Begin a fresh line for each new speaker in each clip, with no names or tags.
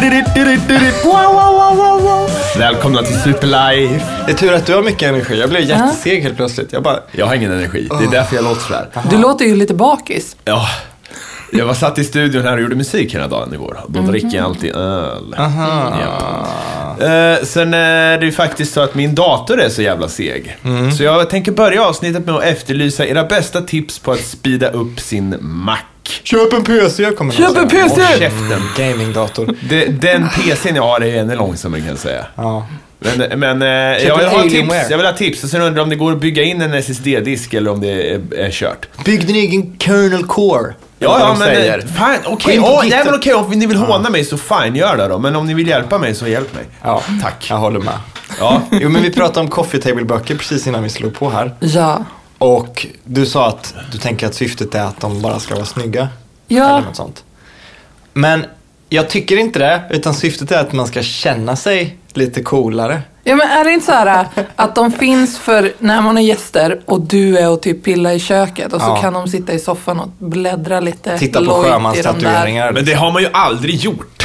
Wow, wow, wow, wow, wow. Välkomna till Superlife.
Det är tur att du har mycket energi. Jag blev jätteseg helt plötsligt. Jag bara, Ah.
Jag har ingen energi. Det är därför jag låter sådär.
Du låter ju lite bakis.
Ja. Jag var satt i studion här och gjorde musik hela dagen igår. Då
Mhm.
dricker jag alltid öl. Japp. Eh, sen är det ju faktiskt så att min dator är så jävla seg.
Mm.
Så jag tänker börja avsnittet med att efterlysa era bästa tips på att speeda upp sin Mac.
köp en PC, jag kommer
Köp en
någonstans.
PC!
Håll käften.
Gamingdator.
Det, den
Ah.
PCn jag har är ju ännu långsammare kan jag säga.
Ja.
Men, men eh, jag,
en
vill ha tips,
Alienware.
jag vill ha tips och sen undrar jag om det går att bygga in en SSD-disk eller om det är, är kört.
Bygg din egen kernel core.
Ja,
Vad
ja,
de
men
säger.
eh, fan,
Gå
okej.
in på
Ja,
Git- Ah.
nej, men okej, om ni vill håna mig så fine, gör det då. Men om ni vill hjälpa mig så hjälp mig.
Ja,
Tack.
Jag håller med.
Ja.
Jo, men vi pratade om coffee table-böcker precis innan vi slog på här.
Ja.
Och du sa att du tänker att syftet är att de bara ska vara snygga.
Ja.
Eller något sånt. Men jag tycker inte det, utan syftet är att man ska känna sig lite coolare.
ja, men är det inte så här äh, att de finns för när man är gäster och du är och typ pillar i köket och så
Ja.
kan de sitta i soffan och bläddra lite
Titta på
lojt i de
sjömanstatueringar.
Men det har man ju aldrig gjort.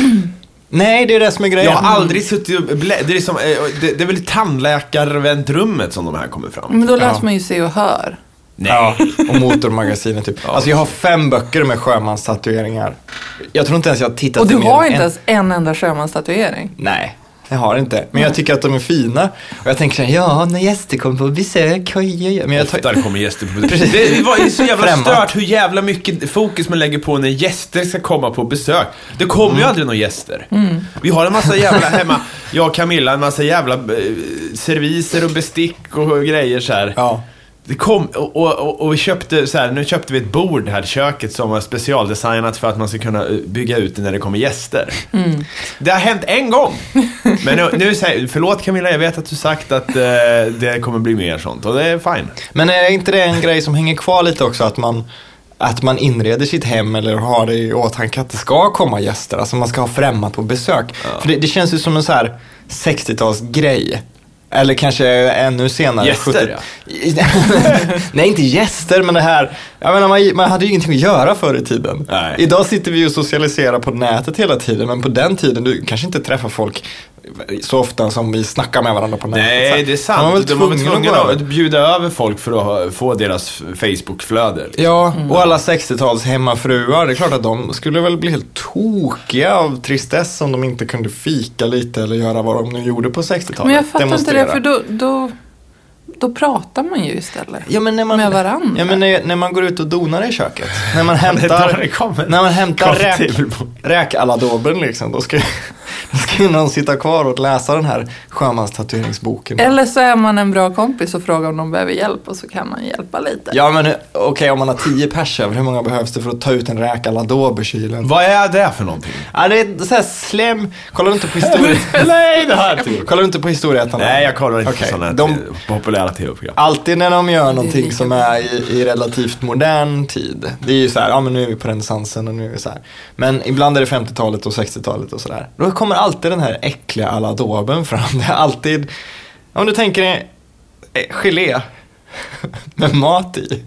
Nej, det är det som är grejen.
Jag har aldrig suttit och blä... det, är som, eh, det, det är väl i tandläkarväntrummet som de här kommer
där.
fram.
Men då läser
Ja.
man ju Se och Hör.
Nej.
Ja, och motormagasinet typ. Alltså jag har fem böcker med sjömanstatueringar. Jag tror inte ens jag har tittat
Och du
i mer
har
än
inte
en.
ens en enda sjömanstatuering.
Nej, jag har inte. Men jag tycker att de är fina. Och jag tänker så här, ja, när gäster kommer på besök, oj, oj, oj. Men jag tar...
Oftare kommer gäster på besök.
Precis.
Det var ju så jävla
Främmande.
stört hur jävla mycket fokus man lägger på när gäster ska komma på besök. Det kommer ju aldrig några gäster. Vi har en massa jävla hemma, jag och Camilla, en massa jävla eh, serviser och bestick och grejer så här.
Ja.
Det kom, och, och- och, och vi köpte så här, nu köpte vi ett bord här i köket som var specialdesignat för att man ska kunna eh, bygga ut det när det kommer gäster. Det har hänt en gång! Men nu, nu säger, förlåt Camilla, jag vet att du sagt att eh, det kommer bli mer sånt och det är fine.
Men är inte det en grej som hänger kvar lite också? Att man, att man inreder sitt hem eller har det i åtanke att det ska komma gäster. Alltså man ska ha främmat på besök. För det, det känns ju som en så här 60-talsgrej. Eller kanske ännu senare.
Gäster,
70 Nej, inte gäster, men det här. Jag menar, man, man hade ju ingenting att göra förr i tiden.
Nej.
Idag sitter vi och socialiserar på nätet hela tiden, men på den tiden, du kanske inte träffar folk så ofta som vi snackar med varandra på nätet. Så
Nej,
här,
det är
Man var väl
sant. De var väl
tvungen att gå
tvungna
över.
att bjuda över folk för att ha- få deras Facebook-flöde.
Ja,
Mm.
och alla 60-tals hemmafruar, det är klart att de skulle väl bli helt tokiga av tristess om de inte kunde fika lite eller göra vad de nu gjorde på 60-talet.
Men jag fattar inte det
Demonstrera.
för då, då, då pratar man ju istället.
Ja men, när man,
Med varandra.
ja men när, när man går ut och donar i köket. När man
är då det
hämtar,
kommer.
när man hämtar
Kommer
räk,
till på-
räkaladoben liksom. Då ska, då ska ju någon sitta kvar och läsa den här sjömanstatueringsboken.
Eller så är man en bra kompis och frågar om de behöver hjälp och så kan man hjälpa lite.
Ja men hur- okej om man har 10 pers över, hur många behövs det för att ta ut en räkaladob ur kylen?
Vad är det för någonting?
Ja, det är såhär slem. Kollar du inte på historien?
Nej, det har jag inte gjort.
Kollar du inte på historieätarna?
Nej, jag kollar inte på
Okej,
sådana typ.
de-
t- populära tv-program.
Alltid när de gör någonting
lika
som är i, i relativt modern tid. Det är ju så här, ja men nu är vi på renässansen och nu är vi så här. Men ibland är det 50-talet och 60-talet och sådär. Då kommer alltid den här äckliga aladoben fram. Det är alltid, om du tänker dig eh, gelé med mat i.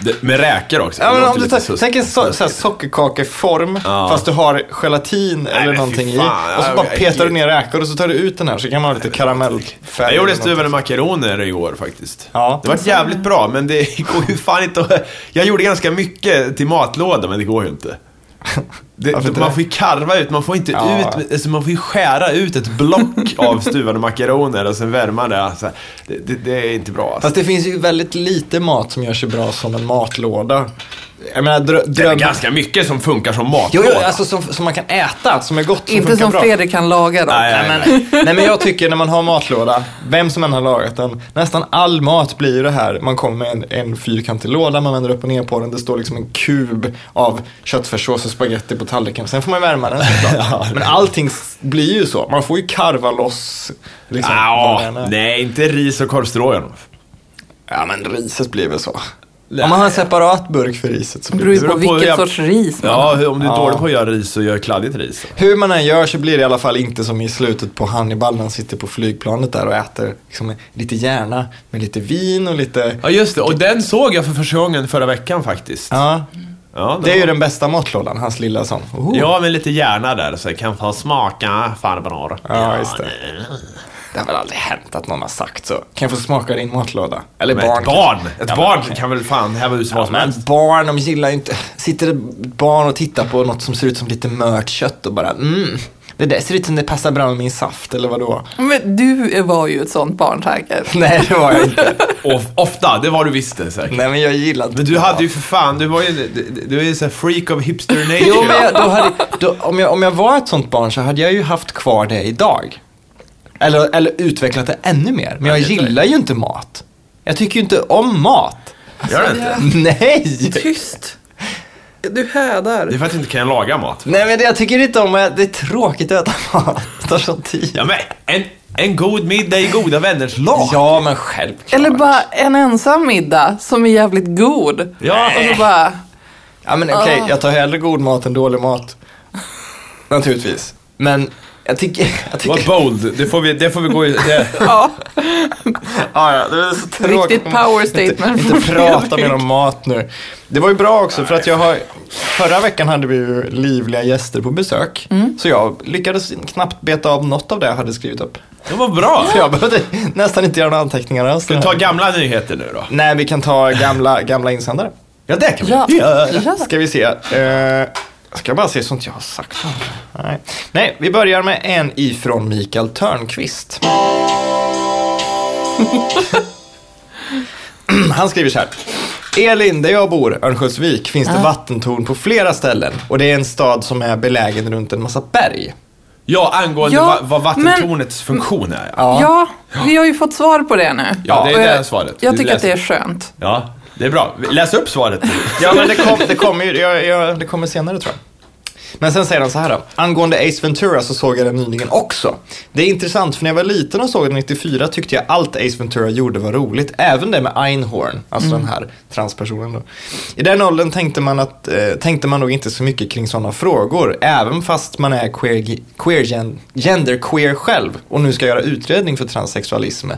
Det, med räkor också.
Ja,
Det
men
låter
om du
lite
tar,
sus-
tänk en so,
suskigt.
så här sockerkakeform
Ja.
fast du har gelatin eller
men fy
någonting
fan,
i. Och så
ja,
bara
jag-
petar du ner räkor och så tar du ut den här så kan man ha lite karamellfärg.
Jag
eller
gjorde
någonting.
stuvade makaroner igår faktiskt.
Ja.
Det var jävligt bra, men det går ju fan inte att... Jag gjorde ganska mycket till matlåda, men det går ju inte. Det,
Varför inte
man
det?
får ju karva ut, man får inte
Ja.
ut, alltså man får ju skära ut ett block av stuvade makaroner och sen värma det. Alltså, det, det, det är inte bra. Alltså.
Fast det finns ju väldigt lite mat som gör sig bra som en matlåda. Jag menar drö-
Det är
dröm...
ganska mycket som funkar som
Jo,
matlåda.
jo, alltså som, som man kan äta, som är gott, som
inte
funkar
som
bra.
Fredrik kan laga dem.
Nej,
Nej,
nej,
men, nej men jag tycker när man har matlåda, vem som än har lagat den, nästan all mat blir ju det här, man kommer med en, en fyrkantig låda, man vänder upp och ner på den, det står liksom en kub av köttfärssås och spagetti på tallriken, sen får man ju värma den såklart. Men allting s- blir ju så, man får ju karva loss. Liksom, vad det än
Ah,
är.
nej, inte ris och korv stroganoff.
Ja men riset blir väl så. Om man har en separat burk för riset så
Det
blir
beror
det
ju
så.
beror på
på vilken
hur jag-
sorts ris man
Ja, hur- om du är
Ja.
dålig på att göra ris så gör kladdigt ris.
Hur man än gör så blir det i alla fall inte som i slutet på Hannibal när han sitter på flygplanet där och äter liksom, lite hjärna med lite vin och lite...
Ja, just det. Och den såg jag för första gången förra veckan faktiskt.
Ja.
Ja,
Mm. Det är ju
var-
den bästa matlådan, hans lilla sån. Oh.
Ja, men lite hjärna där så jag kan få smaka farbror.
Ja, just det.
nej.
Det har väl aldrig hänt att någon har sagt så. Kan jag få smaka din matlåda? Eller
Men
barn.
ett barn,
kanske.
ett
Ja,
barn
men-
kan väl fan häva ut vad som
Men
helst.
barn, de gillar ju inte... Sitter ett barn och tittar på något som ser ut som lite mört kött och bara mm, det där ser ut som det passar bra med min saft eller vadå?
Men du var ju ett sånt barn säkert.
Nej, det var jag inte.
Of, ofta, det var du visste säkert.
Nej, men jag gillar inte
Men du
barn.
hade ju för fan, du var ju, du- du är ju så här freak of hipster nature.
Jo, men jag, då hade, då, om, jag, om jag var ett sånt barn så hade jag ju haft kvar det idag. Eller, eller utvecklat det ännu mer. Men jag
Ja, det är klart.
gillar ju inte mat. Jag tycker ju inte om mat.
Gör det
det-
inte?
Nej!
Tyst! Du hädar.
Det är för att jag inte kan laga mat.
Nej men det- jag tycker inte om det, det är tråkigt att äta mat. Det tar sån tid.
Ja, men en, en god middag i goda vänners lag.
Ja, men självklart.
Eller bara en ensam middag som är jävligt god.
Ja.
Och så bara,
Ja men okej,
Ah.
jag tar hellre god mat än dålig mat. Naturligtvis. Men jag tycker... Jag tycker
Vad bold, det får vi, det får vi gå i... Det.
ja.
Ja, ja, det är så tråkigt.
Riktigt power statement
Inte,
från
inte prata
Fredrik.
mer om mat nu. Det var ju bra också för att jag har, förra veckan hade vi ju livliga gäster på besök.
Mm.
Så jag lyckades knappt beta av något av det jag hade skrivit upp.
Det var bra.
Så jag behövde nästan inte göra några anteckningar alls.
Ska vi ta gamla nyheter nu då?
Nej, vi kan ta gamla, gamla insändare.
Ja, det kan vi.
Ja.
Ska vi se. Eh, ska jag bara se sånt jag har sagt. Nej. Nej, vi börjar med en ifrån Mikael Törnqvist. Han skriver så här. Elin, där jag bor, Örnsköldsvik, finns det vattentorn på flera ställen. Och det är en stad som är belägen runt en massa berg.
Ja, angående
Ja,
va, vad vattentornets funktion är. Ja,
Ja, vi har ju fått svar på det nu.
Ja, det är
Och jag-
det svaret.
Jag
Du
tycker att det är
läser.
skönt.
ja det är bra. Läs upp svaret nu.
Ja, men det, kom, det, kommer ju, jag, jag, det kommer senare tror jag. Men sen säger han så här då. Angående Ace Ventura så såg jag den nyligen också. Det är intressant för när jag var liten och såg den 94 tyckte jag allt Ace Ventura gjorde var roligt. Även det med Einhorn, alltså den här transpersonen då. I den åldern tänkte man, att, eh, tänkte man nog inte så mycket kring sådana frågor. Även fast man är queer, queer gen, genderqueer själv och nu ska göra utredning för transsexualism.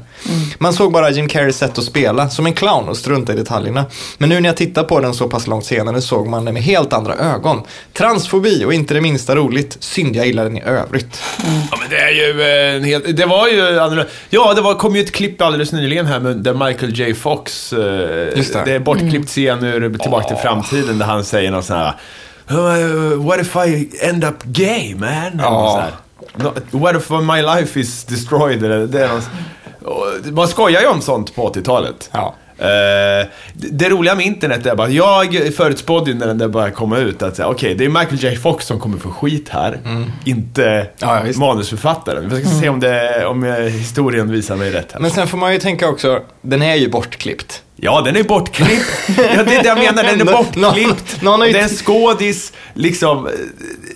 Man såg bara Jim Carreys sätt att spela, som en clown och strunta i detaljerna. Men nu när jag tittar på den så pass långt senare såg man den med helt andra ögon. Transfobi och inte det minsta roligt. Synd jag gillar den i övrigt.
Ja, men det är ju eh, en hel... Det var ju annorlunda. Ja, det var, kom ju ett klipp alldeles nyligen här med, där Michael J. Fox... eh,
Just det. Mm.
det är bortklippt scen ur Tillbaka till framtiden där han säger något sånt här... "Uh, What if I end up gay, man? Eller
Ja.
något sånt här. No, what if my life is destroyed? Eller, det är något, och man skojar ju om sånt på 80-talet.
Ja.
Eh, det, det roliga med internet är bara, jag förutspådde ju när den där började komma ut att säga, okej, det är Michael J. Fox som kommer få skit här, inte
Mm. Ja, ja, visst.
manusförfattaren. Vi ska se
Mm.
om, det, om eh, historien visar mig rätt här.
Men sen får man ju tänka också, den är ju bortklippt.
Ja, den är bortklippt. ja, det är det jag menar, den är
Nå-
bortklippt.
nå- någon har ju-
det är en skådis, liksom. eh,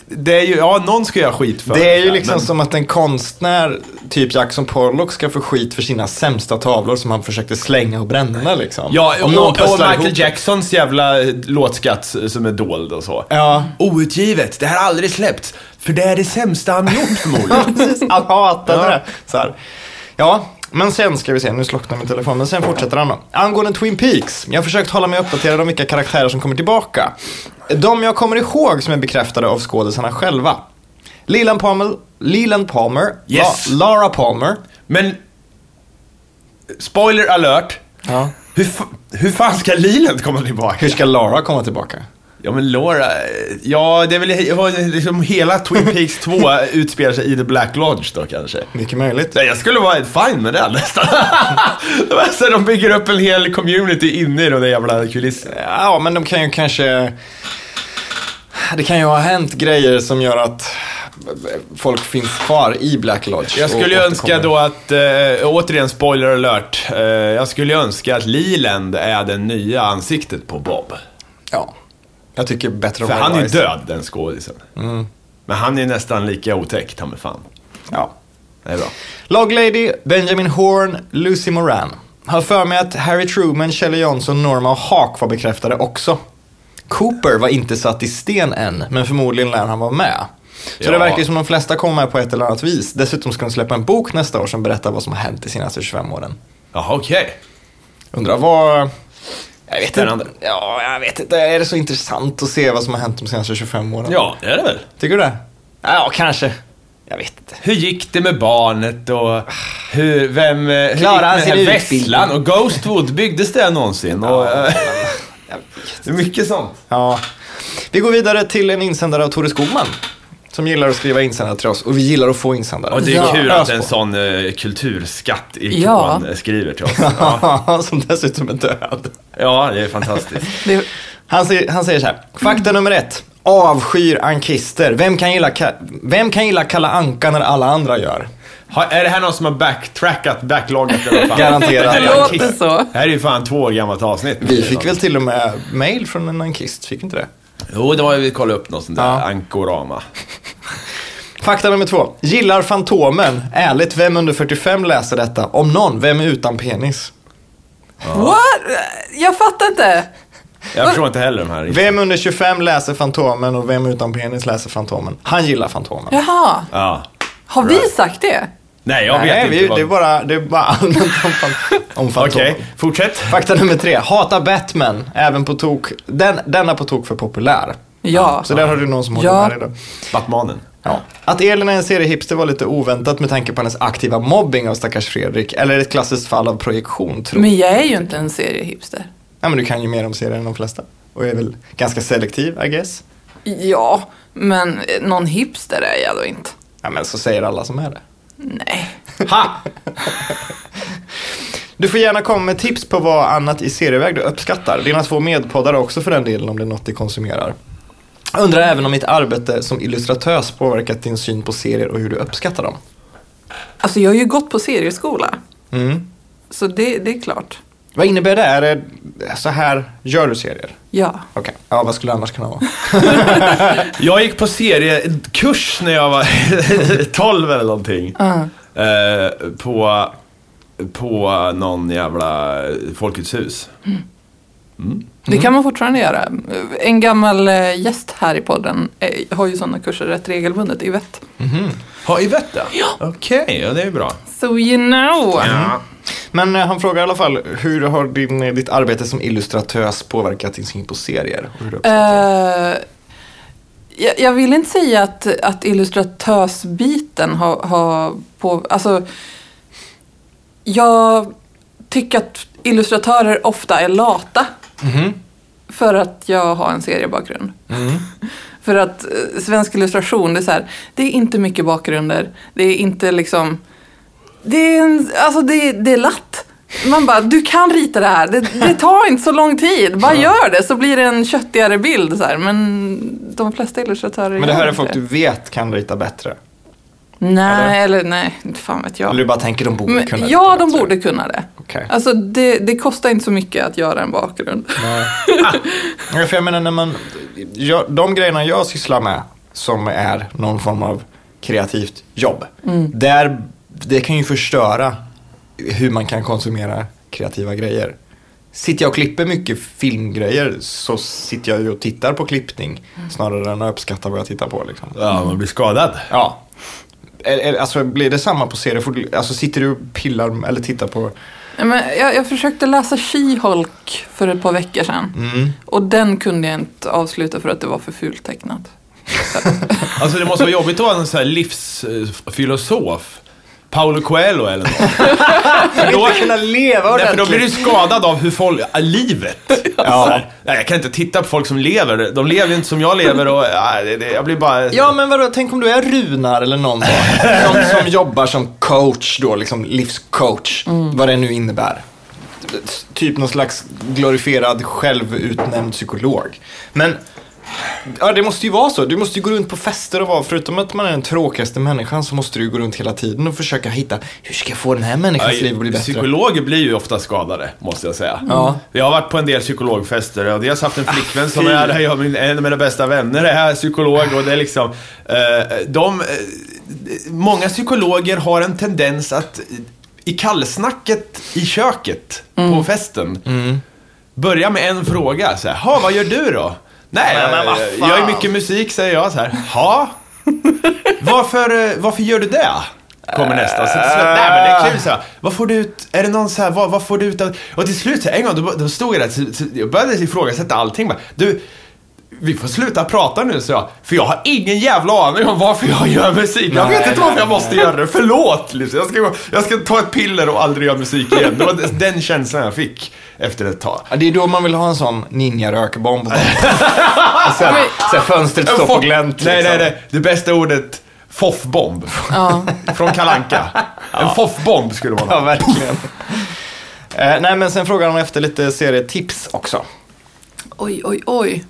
Det är ju, ja, någon ska göra skit för
Det är ju
här,
liksom
men-
som att en konstnär, typ Jackson Pollock, ska få skit för sina sämsta tavlor som han försökte slänga och bränna liksom.
Ja, och,
Om någon
och,
pusslar
Michael
ihop-
Jacksons jävla eh, låtskatt eh, som är dold och så.
Ja.
Outgivet, det här har aldrig släppts. För det är det sämsta han gjort
Ja,
förmodligen.
precis. Han hatade
Ja.
det. Så här. Ja, men sen ska vi se, nu slocknar min telefon, men sen fortsätter han då. Angående Twin Peaks, jag har försökt hålla mig uppdaterad om vilka karaktärer som kommer tillbaka. De jag kommer ihåg som är bekräftade av skådisarna själva. Leland Palmer, Leland Palmer
Yes.
La, Lara Palmer.
Men, spoiler alert.
Ja.
Hur, fa- hur fan ska Leland komma tillbaka?
Hur ska Lara komma tillbaka?
Ja men Laura, eh, ja det är väl he- liksom hela Twin Peaks 2 utspelar sig i The Black Lodge då kanske.
Mycket möjligt.
Nej, jag skulle vara fine med det nästan. Det var så här, de bygger upp en hel community inne i de där jävla kulisserna.
Ja, men de kan ju kanske... Det kan ju ha hänt grejer som gör att folk finns kvar i Black Lodge.
Jag
och
skulle ju önska
återkommer.
då att, eh, återigen spoiler alert, eh, jag skulle ju önska att Leland är det nya ansiktet på Bob.
Ja. Jag tycker bättre om
För han är ju
Edelweiss.
död, den skådisen. Mm. Men han är ju nästan lika otäck, ta mig fan.
Ja.
Det är bra.
Laglady, Benjamin Horn, Lucy Moran. Har för mig att Harry Truman, Shelley Johnson, Norma och Hawk var bekräftade också. Cooper var inte satt i sten än, men förmodligen lär han vara med. Så
Ja.
det verkar ju som de flesta kommer med på ett eller annat vis. Dessutom ska de släppa en bok nästa år som berättar vad som har hänt de senaste 25 åren.
Jaha, okej.
Undrar vad... Jag vet,
Spännande.
inte, ja, jag vet inte, är det så intressant att se vad som har hänt de senaste 25 åren?
Ja, det är det väl.
Tycker du det? Ja, kanske. Jag vet inte.
Hur gick det med barnet och hur, vem, eh, hur gick
Klarade han
det med
sin
den här
utbildning?
vesslan och Ghostwood, byggdes det någonsin? Och, eh,
Jag vet.
det är mycket sånt.
Ja. Vi går vidare till en insändare av Tore Skogman. Som gillar att skriva insändare till oss och vi gillar att få insändare.
Och det är
Ja.
kul att en
Ös på.
sån eh, kulturskatt i
Ja.
ja. skriver till oss. Ja.
som dessutom är död.
ja, det är fantastiskt.
Det,
Han, säger- han säger så här. Fakta nummer ett. Avskyr ankister. Vem kan, gilla, Ka- vem kan gilla Kalla Anka när alla andra gör?
Ha, är det här någon som har backtrackat, backloggat eller vad fan?
Garanterat.
Det
det
här är en
låter
kiss.
så.
Det här är ju fan två år gammalt avsnitt.
Vi fick väl till och med mail från en ankist, fick vi inte det?
Jo, det var ju vi kollade upp något sånt där.
Ja.
Ankorama.
Fakta nummer två. Gillar Fantomen. Ärligt, vem under 45 läser detta? Om någon, vem är utan penis?
What? Jag fattar inte.
Jag förstår inte heller de här.
Vem under 25 läser Fantomen och vem utan penis läser Fantomen? Han gillar Fantomen.
Jaha,
Ja.
har vi sagt det?
Nej, jag vet
vi,
inte.
det, är
vad-
bara, det är bara allmänt om, fan, om Fantomen.
Okej, fortsätt.
Fakta nummer tre. Hata Batman. Även på tok. Den, den är på tok för populär.
Ja.
Så där har du någon som håller
Ja.
med dig då.
Batmanen.
Ja. Att Elin är en seriehipster var lite oväntat med tanke på hennes aktiva mobbing av stackars Fredrik. Eller ett klassiskt fall av projektion, tror jag.
Men jag är ju inte en seriehipster.
Ja, men du kan ju mer om serier än de flesta. Och är väl ganska selektiv, I guess.
Ja, men eh, någon hipster är jag då inte.
Ja, men så säger alla som är det.
Nej.
Ha!
Du får gärna komma med tips på vad annat i serieväg du uppskattar. Dina två medpoddare också för den delen om det är något du konsumerar. Undrar även om mitt arbete som illustratörs påverkat din syn på serier och hur du uppskattar dem.
Alltså jag har ju gått på serieskola,
Mm.
så det, det är klart.
Vad innebär det? Är det så här gör du serier?
Ja.
Okej, ja vad skulle det annars kunna vara?
Jag gick på seriekurs när jag var 12 eller någonting.
Mm.
Eh, på, på någon jävla Folkets hus.
Det kan man fortfarande göra. En gammal eh, gäst här i podden eh, har ju sådana kurser rätt regelbundet, Yvette.
Har Yvette? Ja. Okej, ja, det är bra.
So you know.
Ja.
Men eh, han frågar i alla fall, hur har din, eh, ditt arbete som illustratörs påverkat din syn på serier? Och hur du uppskattar dem?
Eh, jag, jag vill inte säga att, att illustratörsbiten har, har på... Alltså, jag tycker att illustratörer ofta är lata.
Mhm,
För att jag har en seriebakgrund. För att eh, svensk illustration, det är så här, det är inte mycket bakgrunder. Det är inte liksom... Det är, en, alltså det, det är latt. Man bara, du kan rita det här. Det, det tar inte så lång tid. Bara gör det så blir det en köttigare bild. Så här. Men de flesta illustratörer
Men det
gör
här är
inte
folk
det.
du vet kan rita bättre.
Nej, eller nej, fan vet jag.
Eller du bara tänker de borde
Men,
kunna
ja,
rita
de
bättre.
borde kunna det.
Okej.
Alltså det, det kostar inte så mycket att göra en bakgrund.
Ja, för jag menar när man, jag, de grejerna jag sysslar med som är någon form av kreativt jobb. Där, det kan ju förstöra hur man kan konsumera kreativa grejer. Sitter jag och klipper mycket filmgrejer så sitter jag ju och tittar på klippning snarare än att uppskatta vad jag tittar på. Liksom.
ja, man blir skadad.
Ja. Är- är- Alltså blir det samma på serier? Får du- Alltså sitter du och pillar eller tittar på...
Nej, Men jag, jag försökte läsa She-Hulk för ett par veckor sedan. Och den kunde jag inte avsluta för att det var för fult tecknat.
Alltså det måste vara jobbigt att vara en sån här livsfilosof. Paolo Coelho eller något. För då,
leva
nej, för då blir du skadad av hur folk, äh, livet. Så
Ja.
här, Nej, jag kan inte titta på folk som lever. De lever ju inte som jag lever och äh, det, det, jag blir bara...
Ja men vadå, tänk om du är Runar eller någon sån som, som jobbar som coach då, liksom livscoach. Vad det nu innebär. Mm. Typ någon slags glorifierad självutnämnd psykolog. Men ja, det måste ju vara så. Du måste ju gå runt på fester och vara, förutom att man är den tråkigaste människan så måste du ju gå runt hela tiden och försöka hitta, hur ska jag få den här människans liv att bli bättre?
Psykologer blir ju ofta skadade, måste jag säga.
Ja. Ah,
Jag har varit på en del psykologfester och dels haft en flickvän som
fy.
är jag, och min, en av mina bästa vänner är psykolog och det är liksom... Eh, de, eh, många psykologer har en tendens att i kallsnacket i köket
Mm.
på festen börja med en fråga. Så här, "Ha, vad gör du då? Nej,
Ja, men vad
jag
fan."
gör mycket musik, säger jag så här. Ha? Varför, eh, varför gör du det? Kommer nästa. Så till slut, nej men det är kul så här. Vad får du ut, är det någon så här, vad, vad får du ut av... Och till slut så här, en gång, då, då stod jag där, så, så, jag började ifrågasätta allting bara. Du, vi får sluta prata nu, så jag. För jag har ingen jävla aning om varför jag gör musik. Jag
Nej,
vet inte
nej,
varför jag måste göra det. Förlåt! Liksom. Jag, ska, gå- jag ska ta ett piller och aldrig göra musik igen. Det var den känslan jag fick efter ett tag.
Ja, det är då man vill ha en sån ninja-rökbomb. bara. Och sen, sen fönstret står på
Foff-
glänt.
Nej,
liksom.
nej, nej. Det bästa ordet, foffbomb.
Ja.
Från Kalanka. En foffbomb skulle man
Ja,
ha.
verkligen. Eh, nej, men sen frågar han efter lite serietips också.
Oj, oj, oj.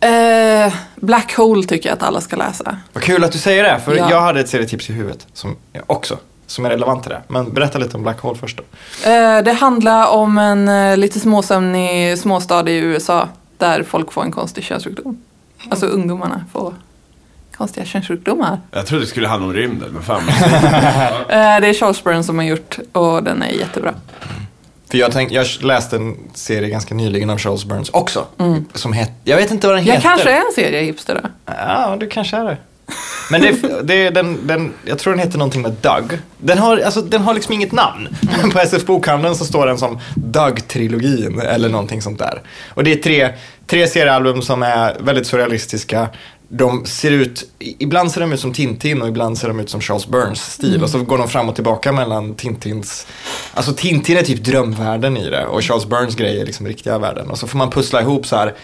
Eh, Black Hole tycker jag att alla ska läsa.
Vad kul att du säger det, för
Ja.
jag hade ett serietips i huvudet som också som är relevant till det. Men berätta lite om Black Hole först då.
Eh, det handlar om en eh, lite småsömnig småstad i USA där folk får en konstig könssjukdom. Alltså ungdomarna får konstiga könssjukdomar.
Jag trodde det skulle handla om rymden, men fan.
Eh, det är Charles Burns som har gjort och den är jättebra.
För jag, tänk, jag läste en serie ganska nyligen av Charles Burns också. Som het, jag vet inte vad den
Mm. Jag
heter.
kanske är en seriehipster då.
Ja, du kanske är det. Men det, det är den, den, jag tror den heter någonting med Doug. Den har, alltså, den har liksom inget namn. På SF Bokhandeln så står den som Doug-trilogin eller någonting sånt där. Och det är tre, tre seriealbum som är väldigt surrealistiska. De ser ut, i- ibland ser de ut som Tintin och ibland ser de ut som Charles Burns stil. Och så går de fram och tillbaka mellan Tintins, alltså Tintin är typ drömvärlden i det. Och Charles Burns grej är liksom riktiga världen. Och så får man pussla ihop så här,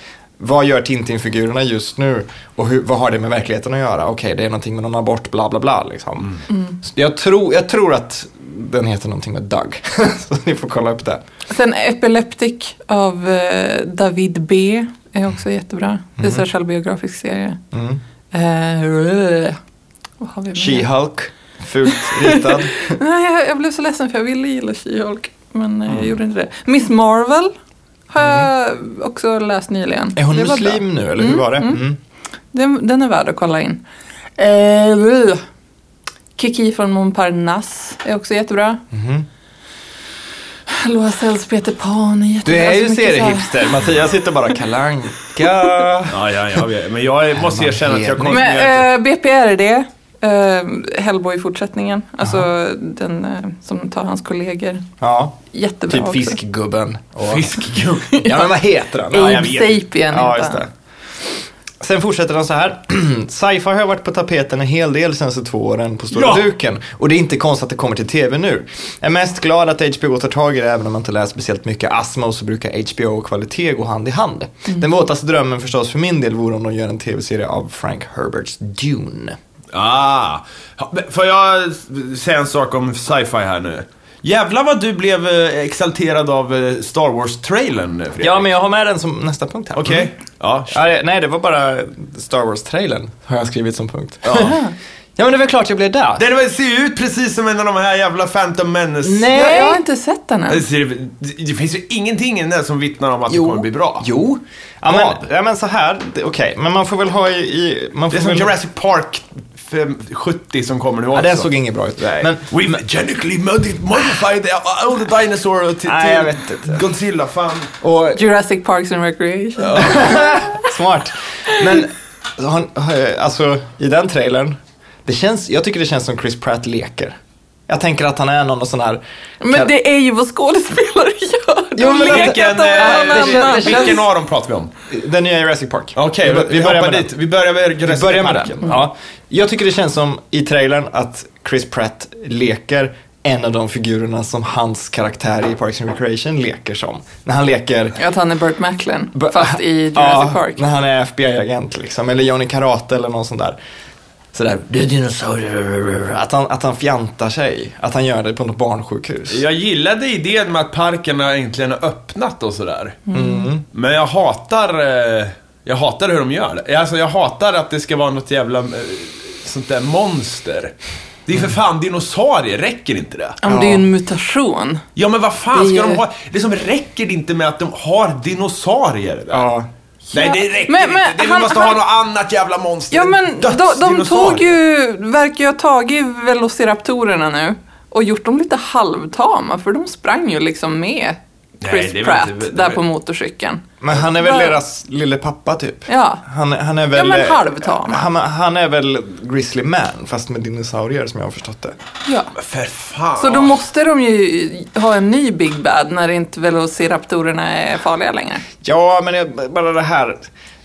vad gör Tintin-figurerna just nu och hur, vad har det med verkligheten att göra? Okej, det är någonting med någon abort, bla bla bla. Liksom.
Mm.
Så Jag, tror, jag tror att den heter någonting med Doug, så ni får kolla upp det.
Sen Epileptic av eh, David B. är också jättebra. Det är en
Mhm.
självbiografisk serie.
Mm.
Eh, vad har vi mer?
She-Hulk, fult ritad.
Nej, jag, jag blev så ledsen för jag ville gilla She-Hulk. Men eh, jag
Mm.
gjorde inte det. Miss Marvel har jag också läst nyligen.
är hon
Det var bra.
muslim nu, eller hur var det? Mm.
Den, den är värd att kolla in. Eh, Kiki från Montparnasse är också jättebra.
Mhm.
Loa Sells Peter Pan är jättebra.
Du är
Så
ju
mycket så här-
seriehipster, Mattias sitter bara kalanka.
Ja, ja, jag vet. Men jag måste erkänna att jag
Men
konsumerar
eh, BPRD, eh, Hellboy i fortsättningen. Alltså den eh, som tar hans kollegor.
Ja,
Jättebra
typ
också.
fiskgubben. Och...
fiskgubbe.
Ja, men vad heter han?
Ja, jag
Abe
vet.
Sapien
Ja,
heter
just
han.
det. Sen fortsätter han så här. Sci-fi har varit på tapeten en hel del senaste två åren på stora
Ja!
duken. Och det är inte konstigt att det kommer till tv nu. Jag är mest glad att HBO tar tag i det även om man inte läst speciellt mycket Asmo så brukar HBO och kvalitet gå hand i hand.
Mm.
Den våtaste drömmen förstås för min del vore om de gör en tv-serie av Frank Herberts Dune.
Ah. Ja, men Får jag säga en sak om sci-fi här nu? Jävlar vad du blev eh, exalterad av eh, Star Wars-trailern, eh, Fredrik.
Ja, men jag har med den som nästa punkt här.
Okej.
Mm.
Ja.
Ja, det- nej, det var bara Star Wars-trailern har jag skrivit som punkt. Ja, men det är väl klart jag blev där.
Den väl- ser ju ut precis som en av de här jävla Phantom Menace.
Nej.
Jag, jag har inte sett den
Det,
än.
ser, det finns ju ingenting i den där som vittnar om att det kommer bli bra.
Jo. Ja,
Vad?
men, ja, men så här, det- okej, men man får väl ha i... i man får
Det är som
väl...
Jurassic Park fem- 70 som kommer nu också.
Ja, den såg inget bra ut.
Nej.
Men,
We genetically modi- modified all the uh, dinosaur till, till
Nej, jag vet inte.
Godzilla, fan.
och,
Jurassic Parks and Recreation.
smart. Men, han, alltså, i den trailern, det känns, jag tycker det känns som Chris Pratt leker. Jag tänker att han är någon sån här...
Men det är ju vad skådespelare gör. De
Jo, men
leker
vilken,
att de är
eh, det
någon
känns-
annan.
det känns-
Vilken av dem pratar vi om?
Den nya Jurassic Park.
Okej,
Vi bör-
vi,
börjar
hoppar
med den.
dit. Vi börjar med
Vi
Jurassic
börjar med
Parken.
den. Ja. Jag tycker det känns som i trailern att Chris Pratt leker en av de figurerna som hans karaktär i Parks and Recreation leker som. När han leker
Att han är Burt Macklin,
B-
fast i Jurassic
ja,
Park.
när han är FBI-agent liksom, eller Johnny Karate eller någon sån där. Sådär, du är dinosaurier. Att han, att han fjantar sig, att han gör det på något barnsjukhus.
Jag gillade idén med att parkerna äntligen har öppnat och sådär. Men jag hatar, eh, jag hatar hur de gör det. Alltså jag hatar att det ska vara något jävla eh, sånt där monster. Det är för fan dinosaurier, räcker inte det?
Ja, men det är ju en mutation.
Ja men vad fan ska
Det är-
de ha? Liksom räcker det inte med att de har dinosaurier där?
Ja.
Nej det räcker
Men- men
inte. Det, vi
han-
måste
han-
ha något annat jävla monster.
Ja
En
men de, de
dödsdinosaurie.
tog ju, verkar ju ha tagit velociraptorerna nu och gjort dem lite halvtama för de sprang ju liksom med
Nej,
Chris
det är väl
Pratt
inte- det är
där
väl-
på motorcykeln.
Men han är väl
Bara-
deras lille pappa typ?
Ja.
Han, han är väl... eh,
men halvtam.
Han, han är väl Grizzly Man fast med dinosaurier som jag har förstått det.
ja.
För fan.
Så då måste de ju ha en ny Big Bad när inte velociraptorerna är farliga längre.
Ja, men jag, bara det här.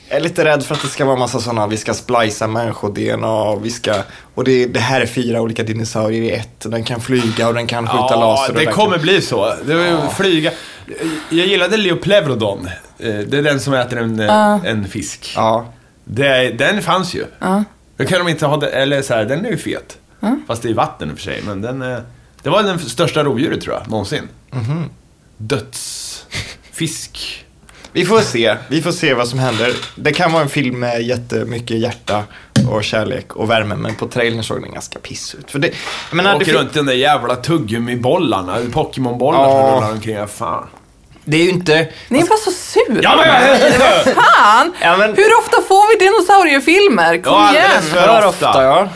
Jag är lite rädd för att det ska vara massa sådana, vi ska splicea människo-DNA och vi ska... Och det, det här är fyra olika dinosaurier i ett. Den kan flyga och den kan skjuta laser. och
det
den
kommer
Kan...
bli så. Det var ju flyga. Jag gillade Leopleurodon. Eh, Det är den som äter en, eh, en fisk.
Ja.
Det, är- den fanns ju. Hur kan de inte ha den? Eller så här, den är ju fet. Fast det är vatten i och för sig. Men den, eh, det var den största rovdjuret tror jag, någonsin. Dödsfisk.
Vi får se. Vi får se vad som händer. Det kan vara en film med jättemycket hjärta och kärlek och värme. Men på trailern såg den ganska piss ut. För det, jag menar,
Men
det
åker
fin-
runt i de där jävla tuggummibollarna, Pokémonbollar
Ja.
som rullar omkring. Ja, Fan.
Det är ju inte...
Ni är bara så sura.
Ja, men,
Fan!
Ja, men-
Hur ofta får vi dinosauriefilmer? Kom
Ja,
igen!
alldeles för- För ofta.
ja.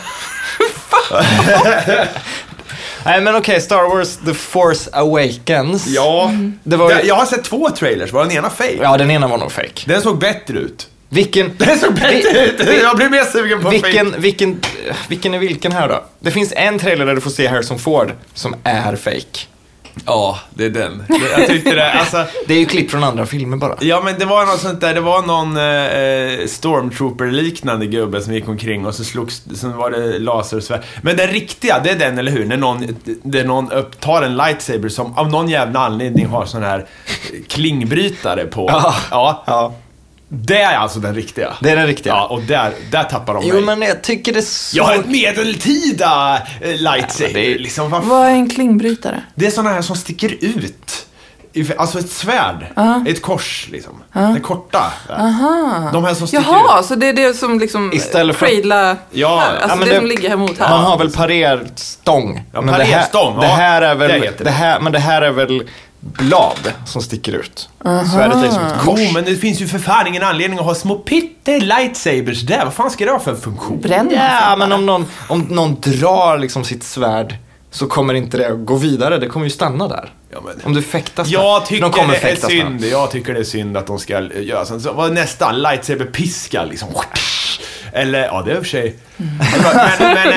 Nej men okej, Star Wars The Force Awakens.
ja.
Det var ju-
Jag- Jag har sett två trailers, var den ena fake?
Ja, den ena var nog fake.
Den såg bättre ut.
Vilken...
Den såg bättre ut! Jag blir mer sugen på fake.
Vilken, vilken, vilken är vilken här då? Det finns en trailer där du får se Harrison Ford som är fake.
Ja, det är den. Jag tyckte det. Alltså,
Det är ju klipp från andra filmer bara.
Ja men det var något sånt där, det var någon eh, stormtrooper-liknande gubbe som gick omkring och så slogs, sen var det laser och svär. Men den riktiga, det är den eller hur? När någon, där någon upp, tar en lightsaber som av någon jävla anledning har sån här klingbrytare på.
Ja.
ja.
Ja,
Det är alltså den riktiga.
det är den riktiga.
Ja, och där, där tappar de
Jo
mig.
men jag tycker det såg...
Jag har ett medeltida eh, lightsaber.
Ja, men det är-
liksom, vad
Vad är en klingbrytare?
det är sådana här som sticker ut. I- Alltså ett svärd. Ett kors liksom. Den korta. De här som sticker
Jaha,
ut.
så det är det som liksom
Istället för-
cradla
Ja,
här, alltså
ja,
men
det,
det-
som ligger här mot här.
Man har väl parerstång.
Ja,
det här,
parerstång, ja.
det här är väl,
Det heter
det.
det.
här, men det här är väl blad som sticker ut. Svärdet är som ett
Jo,
kors.
men det finns ju för fan ingen anledning att ha små pytte lightsabers där. Vad fan ska det ha för funktion?
Bränner
Ja, men om någon, om någon drar liksom sitt svärd så kommer inte det att gå vidare. Det kommer ju stanna där.
Ja, men-
Om du fäktas med-
Jag tycker
de kommer
det är
fäktas med den.
synd. Jag tycker det är synd att de ska eh, göra sånt. Så vad är nästa? Lightsaber-piska liksom. Eller, ja det är i och för sig.
Mm.
Men, men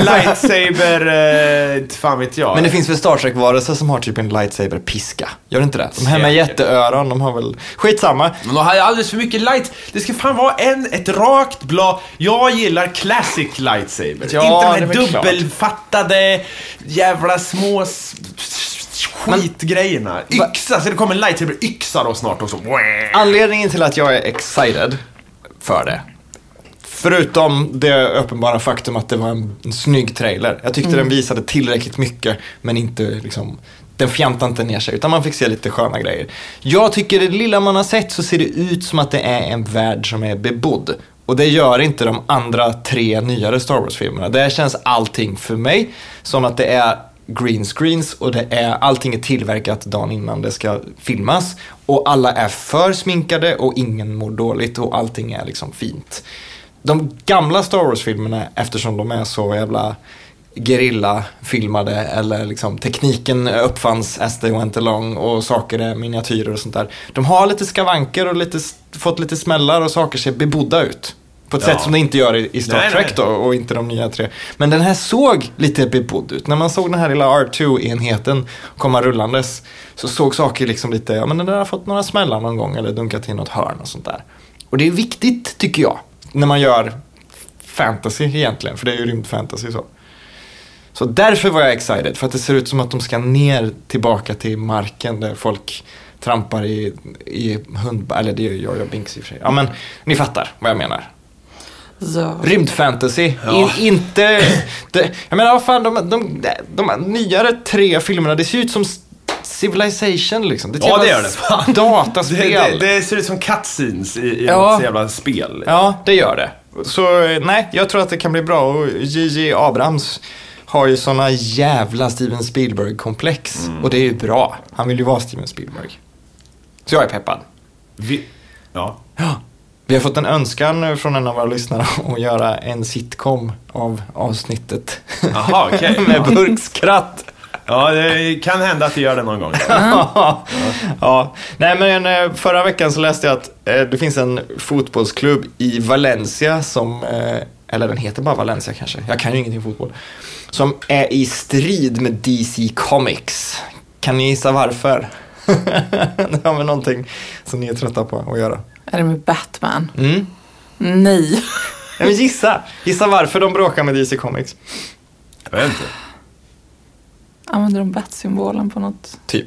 eh, lightsaber, eh, inte fan vet jag.
Men det finns väl Star Trek-varelser som har typ en lightsaber-piska? Gör det inte det? De här med
Säkert.
jätteöron, de har väl... Skitsamma.
Men de hade alldeles för mycket light. Det ska fan vara en, ett rakt blad. Jag gillar classic lightsaber.
Ja,
Inte de här
det är väl klart.
dubbelfattade jävla små s- s- skitgrejerna. Yxa, så det kommer en lightsaber-yxa då snart också.
Anledningen till att jag är excited för det. Förutom det uppenbara faktum att det var en, en snygg trailer. Jag tyckte den visade tillräckligt mycket men inte liksom den fjantade inte ner sig utan man fick se lite sköna grejer. Jag tycker det lilla man har sett så ser det ut som att det är en värld som är bebodd. Och det gör inte de andra tre nyare Star Wars-filmerna. Där känns allting för mig som att det är green screens och det är, allting är tillverkat dagen innan det ska filmas. Och alla är för sminkade och ingen mår dåligt och allting är liksom fint. De gamla Star Wars-filmerna, eftersom de är så jävla gerilla-filmade eller liksom tekniken uppfanns as they went along och saker är miniatyrer och sånt där. De har lite skavanker och lite, fått lite smällar och saker ser bebodda ut. På ett
Ja.
sätt som det inte gör i, i Star
Nej,
Trek
nej.
då och inte de nya tre. Men den här såg lite bebodd ut. När man såg den här lilla R2-enheten komma rullandes så såg saker liksom lite, ja men den där har fått några smällar någon gång eller dunkat i något hörn och sånt där. Och det är viktigt tycker jag när man gör fantasy egentligen, för det är ju rymdfantasy så. Så därför var jag excited, för att det ser ut som att de ska ner tillbaka till marken där folk trampar i, i hund... Eller det gör jag Binks i och för sig. Ja men ni fattar vad jag menar.
Så.
Rymdfantasy. In, inte... Det, jag menar, vad fan, de, de, de, de nyare tre filmerna, det ser ju ut som Civilization liksom. är ett
Ja,
jävla
det gör det. Fan.
Dataspel.
Det, det, det ser ut som cutscenes i, i
Ja.
något jävla spel.
Ja, det gör det. Så eh, nej, jag tror att det kan bli bra. Och J.J. Abrams har ju såna jävla Steven Spielberg-komplex. Och det är ju bra. Han vill ju vara Steven Spielberg. Så jag är peppad.
Vi, ja.
Vi har fått en önskan eh, från en av våra lyssnare om att göra en sitcom av avsnittet.
Jaha, okej.
Med burkskratt.
Ja, det kan hända att det gör det någon gång.
ja. Nej, men eh, förra veckan så läste jag att eh, det finns en fotbollsklubb i Valencia som, eh, eller den heter bara Valencia kanske, jag kan ju ingenting om fotboll, som är i strid med DC Comics. Kan ni gissa varför? det har med någonting som ni är trötta på att göra.
Är det med Batman?
Mm.
Nej.
Nej, men gissa! Gissa varför de bråkar med DC Comics.
Jag vet inte.
Använder de Bat-symbolen på något?
Typ.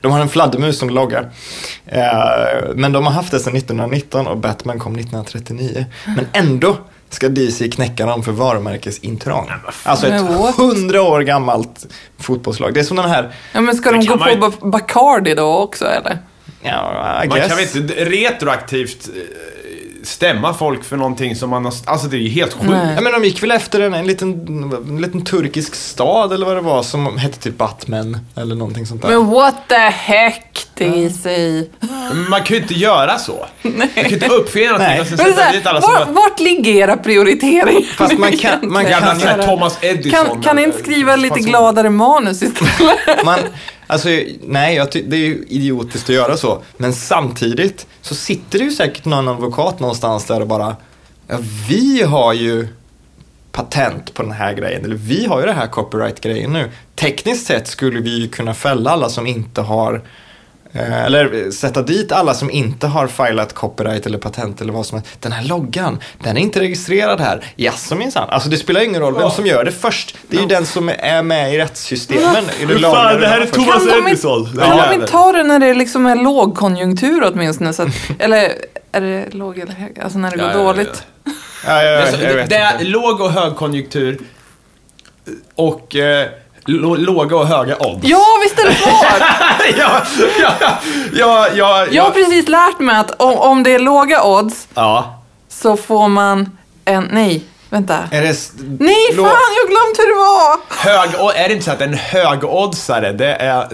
De har en fladdermus som loggar. Eh, men de har haft det sedan 1919 och Batman kom 1939. Men ändå ska DC knäcka dem för varumärkesintrång. Alltså ett
Men what?
hundra år gammalt fotbollslag. Det är som den här,
Ja, men ska
Det
de
kan
gå
man
på
ju-
Ba- Bacardi då också eller?
ja, I
Man kan väl
guess.
inte d- retroaktivt eh, stämma folk för någonting som man har... Alltså det är ju helt sjukt.
Nej.
Ja, men de gick väl efter en, en, liten, en liten turkisk stad eller vad det var som hette typ Batman eller någonting sånt där.
Men what the heck, DC?
Men Man kan ju inte göra så. Man kan ju inte uppfinna någonting
Nej.
och sen
Men det är så
sätta
här,
dit alla som...
var,
bara-
vart ligger era prioriteringar
Fast man kan,
egentligen?
man
Jävla
kan
så här,
göra-
Thomas Edison.
Kan, kan ni inte
eller-
skriva lite
Fast-
gladare manus istället?
Man, alltså, nej, jag ty- det är ju idiotiskt att göra så. Men samtidigt så sitter det ju säkert någon advokat någonstans där och bara, ja, vi har ju patent på den här grejen, eller vi har ju den här copyright-grejen nu. Tekniskt sett skulle vi ju kunna fälla alla som inte har, eh, eller sätta dit alla som inte har filat copyright eller patent eller vad som helst. Den här loggan, den är inte registrerad här. Jaså minsann. Alltså det spelar ingen roll vem som gör det först. Det är ju den som är med i rättssystemen. i det
Fan,
lagliga
det här är
först.
Thomas
Kan de inte,
Edison.
kan
Ja.
de inte ta det när det liksom är lågkonjunktur åtminstone? Så att, eller är det låg eller hög? Alltså när det
Ja,
går
ja, ja, ja.
dåligt.
Ja, jag,
Alltså,
vet- jag
det,
vet
det är
inte.
låg och högkonjunktur och eh, lo- låga och höga odds.
Ja, visst är det svårt!
ja, ja, ja, ja,
Jag har precis lärt mig att om, om det är låga odds
ja.
så får man en... Nej, vänta.
Är det s-
Nej, fan,
lå-
jag har glömt hur det var!
Hög, och är det inte så att en högoddsare, det är...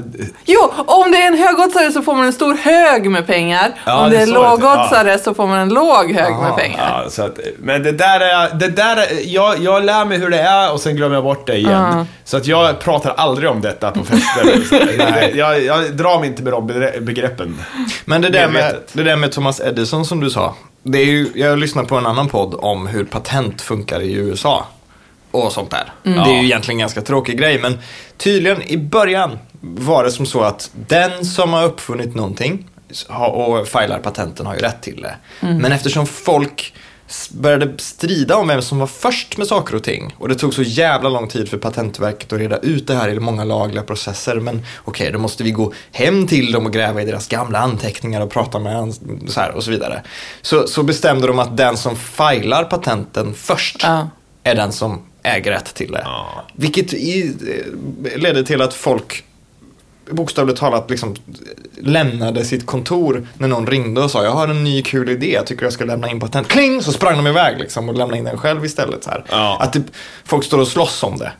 Jo, om det är en högoddsare så får man en stor hög med pengar.
Ja, det
om det är
är så det är.
lågoddsare så får man en låg hög med
Ah,
pengar.
Ja, så att, men det där är, det där är jag, jag lär mig hur det är och sen glömmer jag bort det igen.
Ja.
Så att jag pratar aldrig om detta på fester. Nej, jag, jag drar mig inte med de begre- begreppen.
Men det där, med,
Medvetet.
det där med Thomas Edison som du sa. Det är ju, jag lyssnade på en annan podd om hur patent funkar i USA. Och sånt där.
Mm.
Det är ju egentligen en ganska tråkig grej. Men tydligen i början var det som så att den som har uppfunnit någonting har- och filar patenten har ju rätt till det.
Mm.
Men eftersom folk s- började strida om vem som var först med saker och ting. Och det tog så jävla lång tid för Patentverket att reda ut det här i många lagliga processer. Men okej, då måste vi gå hem till dem och gräva i deras gamla anteckningar och prata med ans- så här och så vidare. Så, så bestämde de att den som filar patenten först
Ja.
är den som äger rätt till det.
Ja.
Vilket i, eh, ledde till att folk bokstavligt talat liksom lämnade sitt kontor när någon ringde och sa jag har en ny kul idé, jag tycker jag ska lämna in patent. Kling! Så sprang de iväg liksom och lämnade in den själv istället. Så här.
Ja.
Att det, folk står och slåss om det.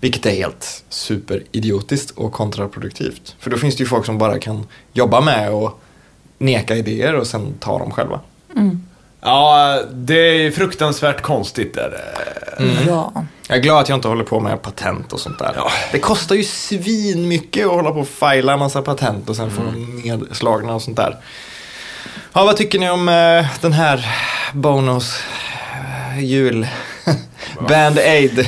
Vilket är helt superidiotiskt och kontraproduktivt. För då finns det ju folk som bara kan jobba med och neka idéer och sen ta dem själva.
Ja, det är fruktansvärt konstigt där. Mm.
Ja.
Jag är glad att jag inte håller på med patent och sånt där.
Ja.
Det kostar ju svin mycket att hålla på och fila en massa patent och sen få dem nedslagna och sånt där. Ja, vad tycker ni om eh, den här Bonos eh, jul? Band-Aid.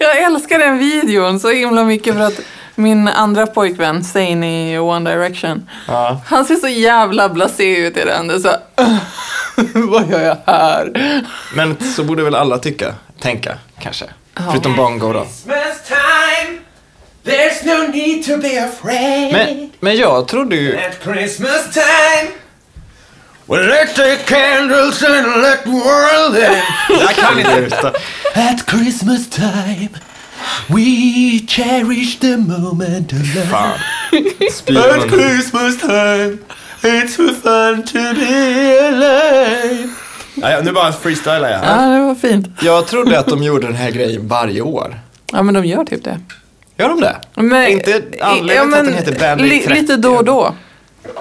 Jag älskar den videon så himla mycket för att min andra pojkvän, Zayn i One Direction,
ja.
han ser så jävla blasé ut i den. Det är så, vad gör jag här?
Men så borde väl alla tycka, tänka kanske. Förutom Bongo då.
Christmas time, there's no need to be afraid.
Men, men jag trodde ju...
At Christmas time, we light the candles and let the world in.
Jag kan inte.
At Christmas time, we cherish the moment of love.
Fan. Spyr man nu.
Christmas time, it's so fun to be alive. Ja, ja, nu bara freestylar jag.
Ja, det var fint.
Jag trodde att de gjorde den här grejen varje år.
Ja, men de gör typ det.
Gör de det?
Men,
inte anledningen till att den heter Band-Aid
li-
30.
Lite då och då.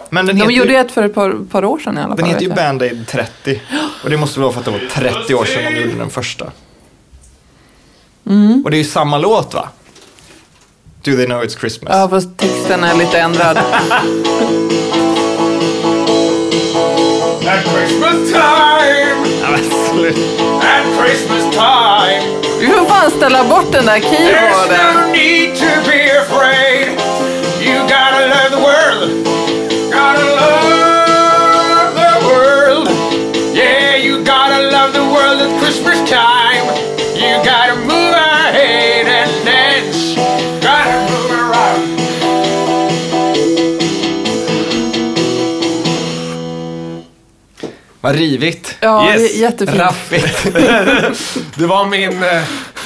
Men den
De
heter,
gjorde
ju,
ett för ett par, par år sedan i alla fall.
den heter ju
vet jag.
Band-Aid 30. Och det måste vara för att det var
Mm.
30 år sedan de gjorde den första. Och det är ju samma låt va? Do they know it's Christmas?
Ja, fast texten är lite ändrad.
At Christmas time,
Ja, men sluta.
at Christmas time,
Vi får fan ställa bort den där
there's
keyboarden.
no need to be afraid. You gotta love the world. Gotta love the world. Yeah, you gotta love the world at Christmas time. You gotta move ahead and dance. Gotta move around.
Vad rivigt.
Ja,
Yes.
det är jättefint.
Raffigt. det var min, eh,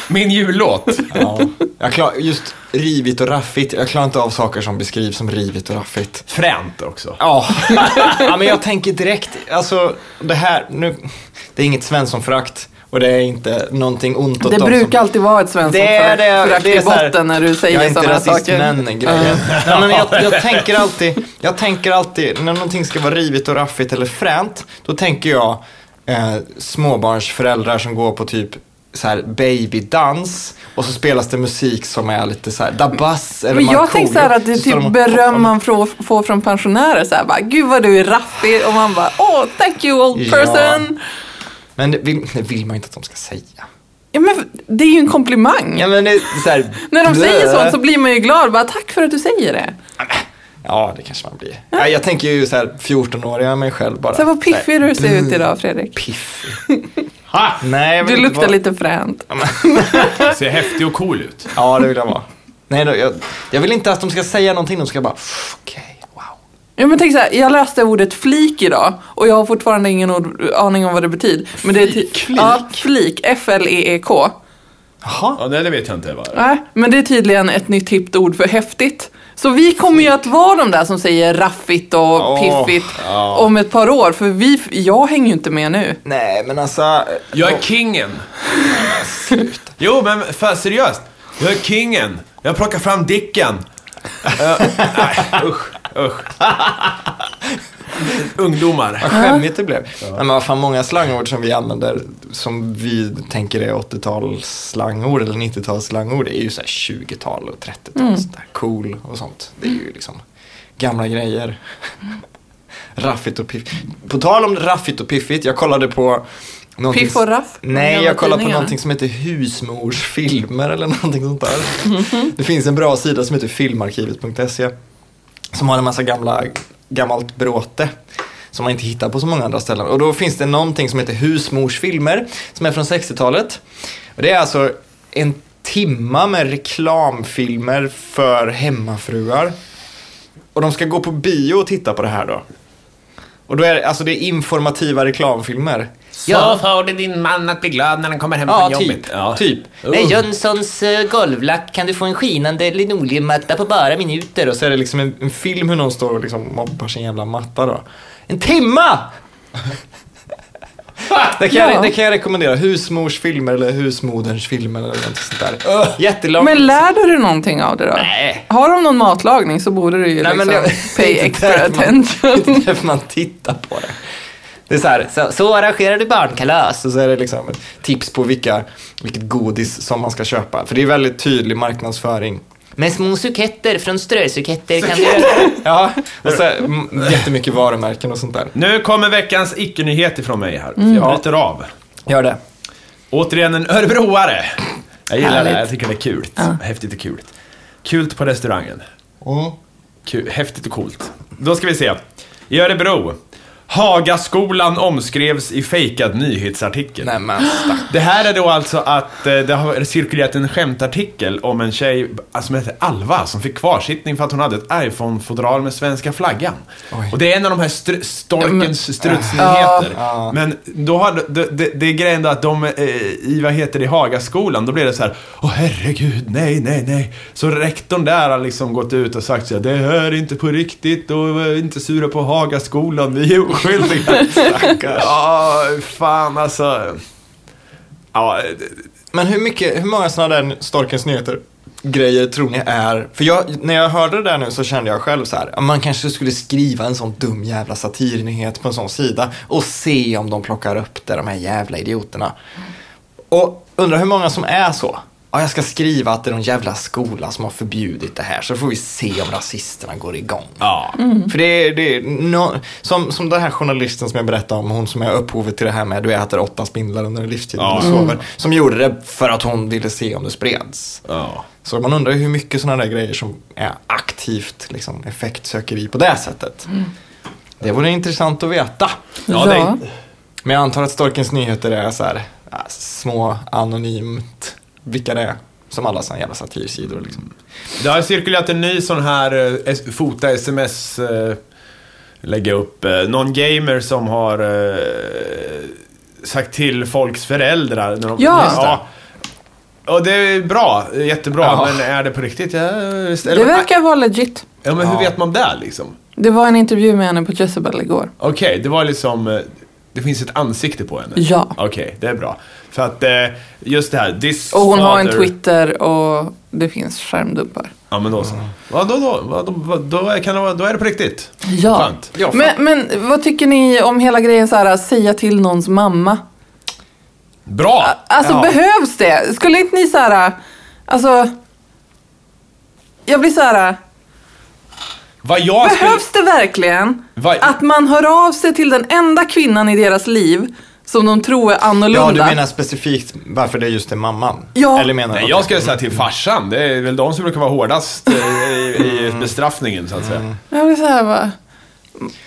min jullåt.
Ja. Jag klar, just rivigt och raffigt. Jag klarar inte av saker som beskrivs som rivigt och raffigt.
Fränt också.
Ja, ja men jag tänker direkt, alltså det här, nu, det är inget Svenssonförakt och det är inte någonting ont åt
Det
dem
brukar
som...
alltid vara ett svenskt
Det är det,
förakt
det är
i
så här,
botten när du
Jag är
säger
inte
sådana
rasist
saker.
men grejen. Nej, men jag, jag, tänker alltid, jag tänker alltid, när någonting ska vara rivigt och raffigt eller fränt, då tänker jag eh, småbarnsföräldrar som går på typ så här babydans och så spelas det musik som är lite så här dabas eller
Men jag
Markoolio.
tänker så här att det är
Så står de
typ
och-
beröm man får, får från pensionärer. Så här, bara, Gud vad du är raffig och man bara åh, thank you old
Ja.
person.
Men det vill, det vill man ju inte att de ska säga.
Ja, men det är ju en komplimang.
Ja, men det är så här,
När de
blö.
säger sånt så blir man ju glad. Bara, Tack för att du säger det.
Ja, det kanske man blir. Ja, jag tänker ju så här 14-åriga mig själv bara.
Så här, vad
Så här,
piffig du ser ut idag Fredrik.
Piffig. Ha! Nej, jag vill
Du
inte
luktar
vara-
lite fränt.
Ser häftig och cool ut.
Ja, det vill jag vara. Nej, då, jag, jag vill inte att de ska säga någonting. De ska bara, "Pff, okej, wow.
Ja, men tänk så här, jag läste ordet flik idag och jag har fortfarande ingen ord, aning om vad det betyder. Men det är ty-
Flik?
Ja, flik. E F-L-E-E-K.
Jaha.
Ja, nej, det vet jag inte vad det är.
Nej, men det är tydligen ett nytt hippt ord för häftigt. Så vi kommer ju att vara de där som säger raffigt och piffigt om ett par år. För vi, jag hänger ju inte med nu.
Nej, men alltså.
Jag är kingen. Jo, men för seriöst. Jag är kingen. Jag plockar fram dicken. Eh, nej, usch, usch. Ungdomar.
Vad skämmigt det blev. Nej, men vad fan, många slangord som vi använder, som vi tänker är 80-talsslangord eller 90-talsslangord, är ju så här 20-tal och 30-tal. så där Cool och sånt. Det är ju liksom gamla grejer. Raffigt och piffigt. På tal om raffigt och piffigt, jag kollade på någonting...
Piff och raff?
Nej,
Gamla
jag kollade på
tidningar.
någonting som heter husmorsfilmer eller någonting sånt där. Det finns en bra sida som heter filmarkivet.se som har en massa gamla, gammalt bråte som man inte hittar på så många andra ställen. Och då finns det någonting som heter husmorsfilmer som är från 60-talet. Och det är alltså en timma med reklamfilmer för hemmafruar. Och de ska gå på bio och titta på det här då. Och då är det, alltså det är informativa reklamfilmer.
Så får du din man att bli glad när han kommer hem
Ja,
från
typ.
jobbet. Ja.
typ.
Med Jönssons eh, golvlack kan du få en skinande linoleummatta på bara minuter.
Och så är det liksom en, en film hur någon står och liksom mobbar sin jävla matta då. En timma! det, kan
Ja.
jag, det kan jag rekommendera. Husmors filmer eller husmoderns filmer eller något sånt där. Jättelångt.
Men lär du dig någonting av det då?
Nej.
Har de någon matlagning så borde du ju
Nej, men
liksom
det-
pay
det är inte
extra
där man-
attention.
Det är därför man tittar på det. Det är så här,
Så, så arrangerar du barnkalas.
så, så är det liksom ett tips på vilka, vilket godis som man ska köpa. För det är väldigt tydlig marknadsföring.
Med små suketter från strösuketter kan du...
Ja, och så här, m- jättemycket varumärken och sånt där.
Nu kommer veckans icke-nyhet ifrån mig här.
Mm.
Jag bryter av.
Gör det.
Återigen en örebroare. Jag gillar det.
Härligt.
Jag tycker det är kul. Häftigt och kul. Kul på restaurangen.
Mm.
Kul. Häftigt och coolt. Då ska vi se. I Örebro. Hagaskolan omskrevs i fejkad nyhetsartikel.
Nej men stack.
Det här är då alltså att eh, det har cirkulerat en skämtartikel om en tjej eh, som heter Alva som fick kvarsittning för att hon hade ett iPhone-fodral med svenska flaggan.
Oj.
Och det är en av de här str- storkens strutsnyheter.
Ja.
Men då har, det, det, det är grejen då att de eh, i, vad heter det, Hagaskolan, då blir det så här, åh herregud, nej, nej, nej. Så rektorn där har liksom gått ut och sagt så här, det här är inte på riktigt och eh, inte sura på Hagaskolan, vi är oskyldiga. Ja, fan alltså. Ja,
Men hur, mycket, hur många sådana där Storkens nyheter grejer tror ni är? För jag, när jag hörde det där nu så kände jag själv så här, "Ja, man kanske skulle skriva en sån dum jävla satirnyhet på en sån sida och se om de plockar upp det, de här jävla idioterna. Och undrar hur många som är så. ja, jag ska skriva att det är någon jävla skola som har förbjudit det här så får vi se om rasisterna går igång.
Ja.
För det är, det är nå- som, som den här journalisten som jag berättade om, hon som är upphovet till det här med du äter åtta spindlar under livstiden
Ja. Mm.
och sover. Som gjorde det för att hon ville se om det spreds.
ja.
Så man undrar ju hur mycket sådana där grejer som är aktivt liksom, effektsökeri på det sättet. Det vore intressant att veta.
Ja, det är-
Men jag antar att Storkens nyheter är så här, ja, små, anonymt, vilka det är. Som alla sådana jävla satirsidor. Liksom.
Det har cirkulerat en ny sån här eh, s- fota sms eh, lägga upp. Eh, någon gamer som har eh, sagt till folks föräldrar. När de,
Ja. Just
ja. Och det är bra, jättebra.
Ja.
Men är det på riktigt? Ja, eller,
Det verkar vara legit.
ja men hur
Ja.
vet man det liksom?
Det var en intervju med henne på Jezebel igår.
Okej, det var liksom... eh, Det finns ett ansikte på henne?
Ja.
Okej, det är bra. För att eh, just det här, this
Och hon har en
father-
Twitter och det finns skärmdumpar.
Ja men då så. Ja, då, då, vad- då, vad- då, är- kan det vara- då är det på riktigt.
Ja.
Skönt.
Ja, fan.
Men, men vad tycker ni om hela grejen så här, att säga till någons mamma?
Bra!
Alltså
Ja.
behövs det? Skulle inte ni så här, alltså... Jag blir så här,
Vad jag skulle...
behövs det verkligen
Vad-
att man hör av sig till den enda kvinnan i deras liv som de tror är annorlunda?
Ja, du menar specifikt varför det just är mamman?
Ja.
Eller menar
Nej,
du-
jag skulle säga till farsan. Det är väl de som brukar vara hårdast eh, i, i bestraffningen, så att säga.
Jag blir så här, bara,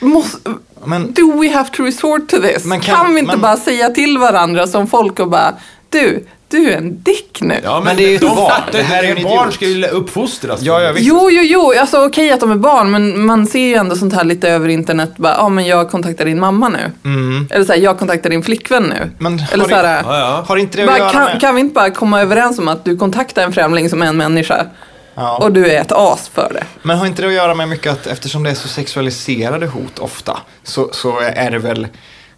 måste,
Men-
do we have to resort to this?
Men
Kan,
kan-
vi inte
men-
bara säga till varandra som folk och bara, du, du är en dick nu.
Ja, men,
Men det är ju ett
de
barn.
fattar ju
Det här
inte.
är ju en
Barn
idiot.
ska ju uppfostras.
Ja, ja, visst.
Jo, jo, jo. Alltså, okej att de är barn, men man ser ju ändå sånt här lite över internet. Bara, ja, men jag kontaktar din mamma nu. Eller så här, jag kontaktar din flickvän nu.
Mm. Men
Eller
har
så här, äh,
Ja, ja.
Har inte det att
bara,
göra
kan,
med...
kan vi inte bara komma överens om att du kontaktar en främling som är en människa
Ja.
och du är ett as för det?
Men har inte det att göra med mycket att eftersom det är så sexualiserade hot ofta så, så är det väl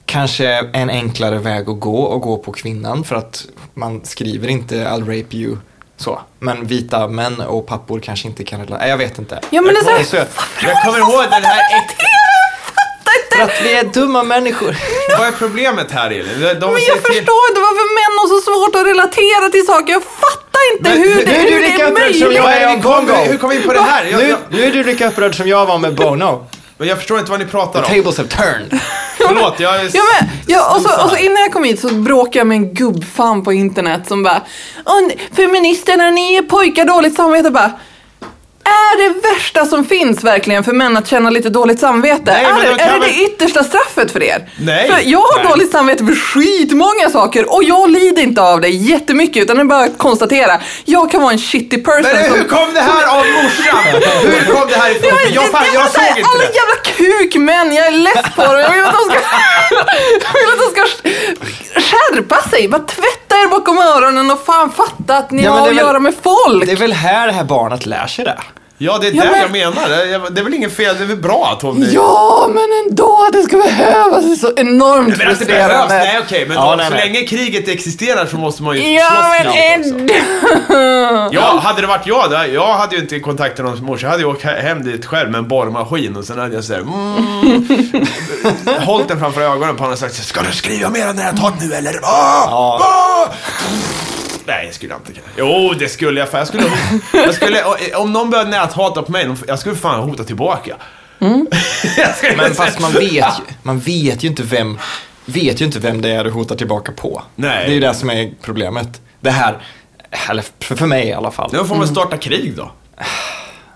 kanske en enklare väg att gå och gå på kvinnan för att man skriver inte I'll rape you så. Men vita män och pappor kanske inte kan relatera. Jag vet inte.
Ja, men alltså, det är så här-
så här...
Jag kommer ihåg den här... äck-
För att vi är dumma människor.
Vad är problemet här, Elin? De
Men
säger
jag förstår inte varför män har så svårt att relatera till saker. Jag fattar inte
Men
hur,
nu
det,
är du
hur det
lika
är
upprörd som
möjligt.
jag
Vad
är.
är
en
ni
Kongo.
kommer, hur kom vi in på det här? Jag,
Nu,
jag,
nu är du lika upprörd som jag var med Bono.
men jag förstår inte vad ni pratar
The
om.
tables have turned.
Förlåt, jag är...
Ja, men, ja, och, så, och så innan jag kom hit så bråkade jag med en gubbfan på internet som bara "Åh, ni- Feministerna, ni är pojkar dåligt samvete. Bara, är det värsta som finns verkligen för män att känna lite dåligt samvete?
Nej, men
är
då kan
är det
väl-
det yttersta straffet för er?
Nej.
För jag har
Nej.
dåligt samvete för skitmånga saker och jag lider inte av det jättemycket utan det är bara att konstatera. Jag kan vara en shitty person.
Men
som-
hur kom det här av morsan? Hur kom det här ifrån?
men
Jag,
det-
fan,
det alltså, var
jag
så här,
såg inte
Alla
det.
jävla kukmän, jag är less på dem. Jag vill att de ska, jag vill att de ska skärpa sig. Bara tvätta er bakom öronen och fan fatta att ni
Ja, men
har
det
att
är väl-
göra med folk.
Det är väl här det här barnet lär sig det.
Ja, det är
Ja,
det
men-
jag menar. Det- Det är väl inget fel, det är väl bra att hon...
Ja, men ändå att det ska behövas det är så enormt
Men att det behövs,
frustrerande.
nej okej, men
Ja,
då,
nej,
så
nej.
länge kriget existerar så måste man ju
Ja,
slåss
men
kriget också.
ändå.
Ja, hade det varit jag, då, jag hade ju inte kontaktat någon morsa, jag hade ju åkt he- hem dit själv med en borrmaskin och sen hade jag såhär, mm, hållit den framför ögonen på honom och sagt Ska du skriva mer om det här talet nu eller? Ah,
Ja.
ah! Nej, det skulle jag inte kunna. Jo, det skulle jag fan. Jag skulle, jag skulle, eh, om någon började näthata på mig, de- jag skulle fan hota tillbaka. jag skulle
Mm. Men fast man vet ju, man vet ju inte vem, vet ju inte vem det är du hotar tillbaka på.
Nej.
Det är ju det som är problemet. Det här, eller för för mig i alla fall.
Då får man starta krig då.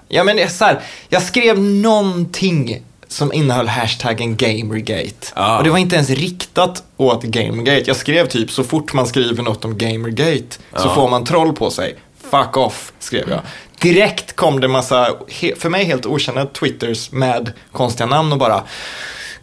Ja men det är så här, jag skrev någonting som innehöll hashtaggen Gamergate.
Ah.
Och det var inte ens riktat åt Gamergate. Jag skrev typ så fort man skriver något om Gamergate så får man troll på sig. Fuck off, skrev jag. Direkt kom det massa, he- för mig helt okända twitters med konstiga namn och bara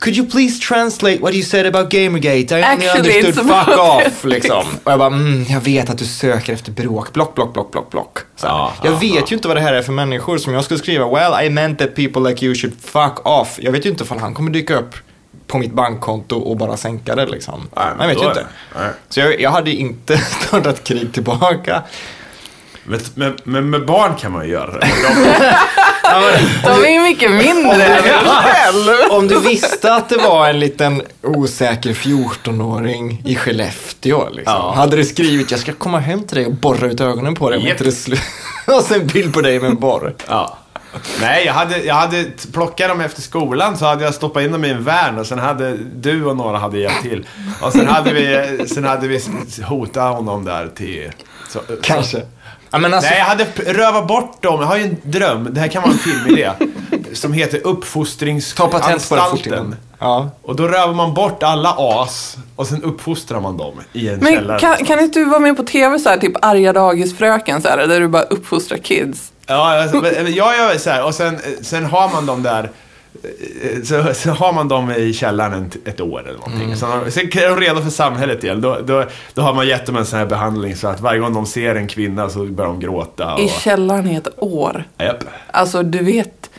Could you please translate what you said about Gamergate? I only
Actually,
understood
it's about
fuck off,
it."
liksom. Och jag bara, mm, jag vet att du söker efter bråk. Block, block, block, block, block. Så här.
Ja,
jag
ja,
vet ju inte vad det här är för människor som jag skulle skriva Well I meant that people like you should fuck off. Jag vet ju inte ifall han kommer dyka upp på mitt bankkonto och bara sänka det liksom.
Nej, men
jag vet
då
ju
är
inte.
det. Nej.
Så jag, jag hade inte startat krig tillbaka.
Men, men, men med barn kan man ju göra det. De,
De är ju mycket mindre.
Om du visste att det var en liten osäker 14-åring i Skellefteå, liksom, hade du skrivit jag ska komma hem till dig och borra ut ögonen på dig om
Japp.
inte det slu- Och sen bild på dig med en borr.
Ja. Nej, jag hade, jag hade t- plockat dem efter skolan så hade jag stoppat in dem i en van och sen hade du och några hade hjälpt till. Och sen hade vi, sen hade vi s- hotat honom där till... Så,
Kanske. Ja, men alltså,
Nej, jag hade p- rövat bort dem. Jag har ju en dröm. Det här kan vara en filmidé. som heter
ta patent på det fort
Uppfostringsanstalten.
innan. Ja.
Och då rövar man bort alla as och sen uppfostrar man dem i en
Men
källare.
kan, kan inte du vara med på tv så här, typ arga dagisfröken så här, där du bara uppfostrar kids?
Ja, alltså, men- men jag gör så här. Och sen, sen har man dem där. eh, Så, så har man dem i källaren ett- ett år eller någonting. Sen, har- sen är de redo för samhället igen. Då, då, då har man gett dem en sån här behandling så att varje gång de ser en kvinna så börjar de gråta. Och,
I källaren i ett år.
Japp.
Alltså du vet,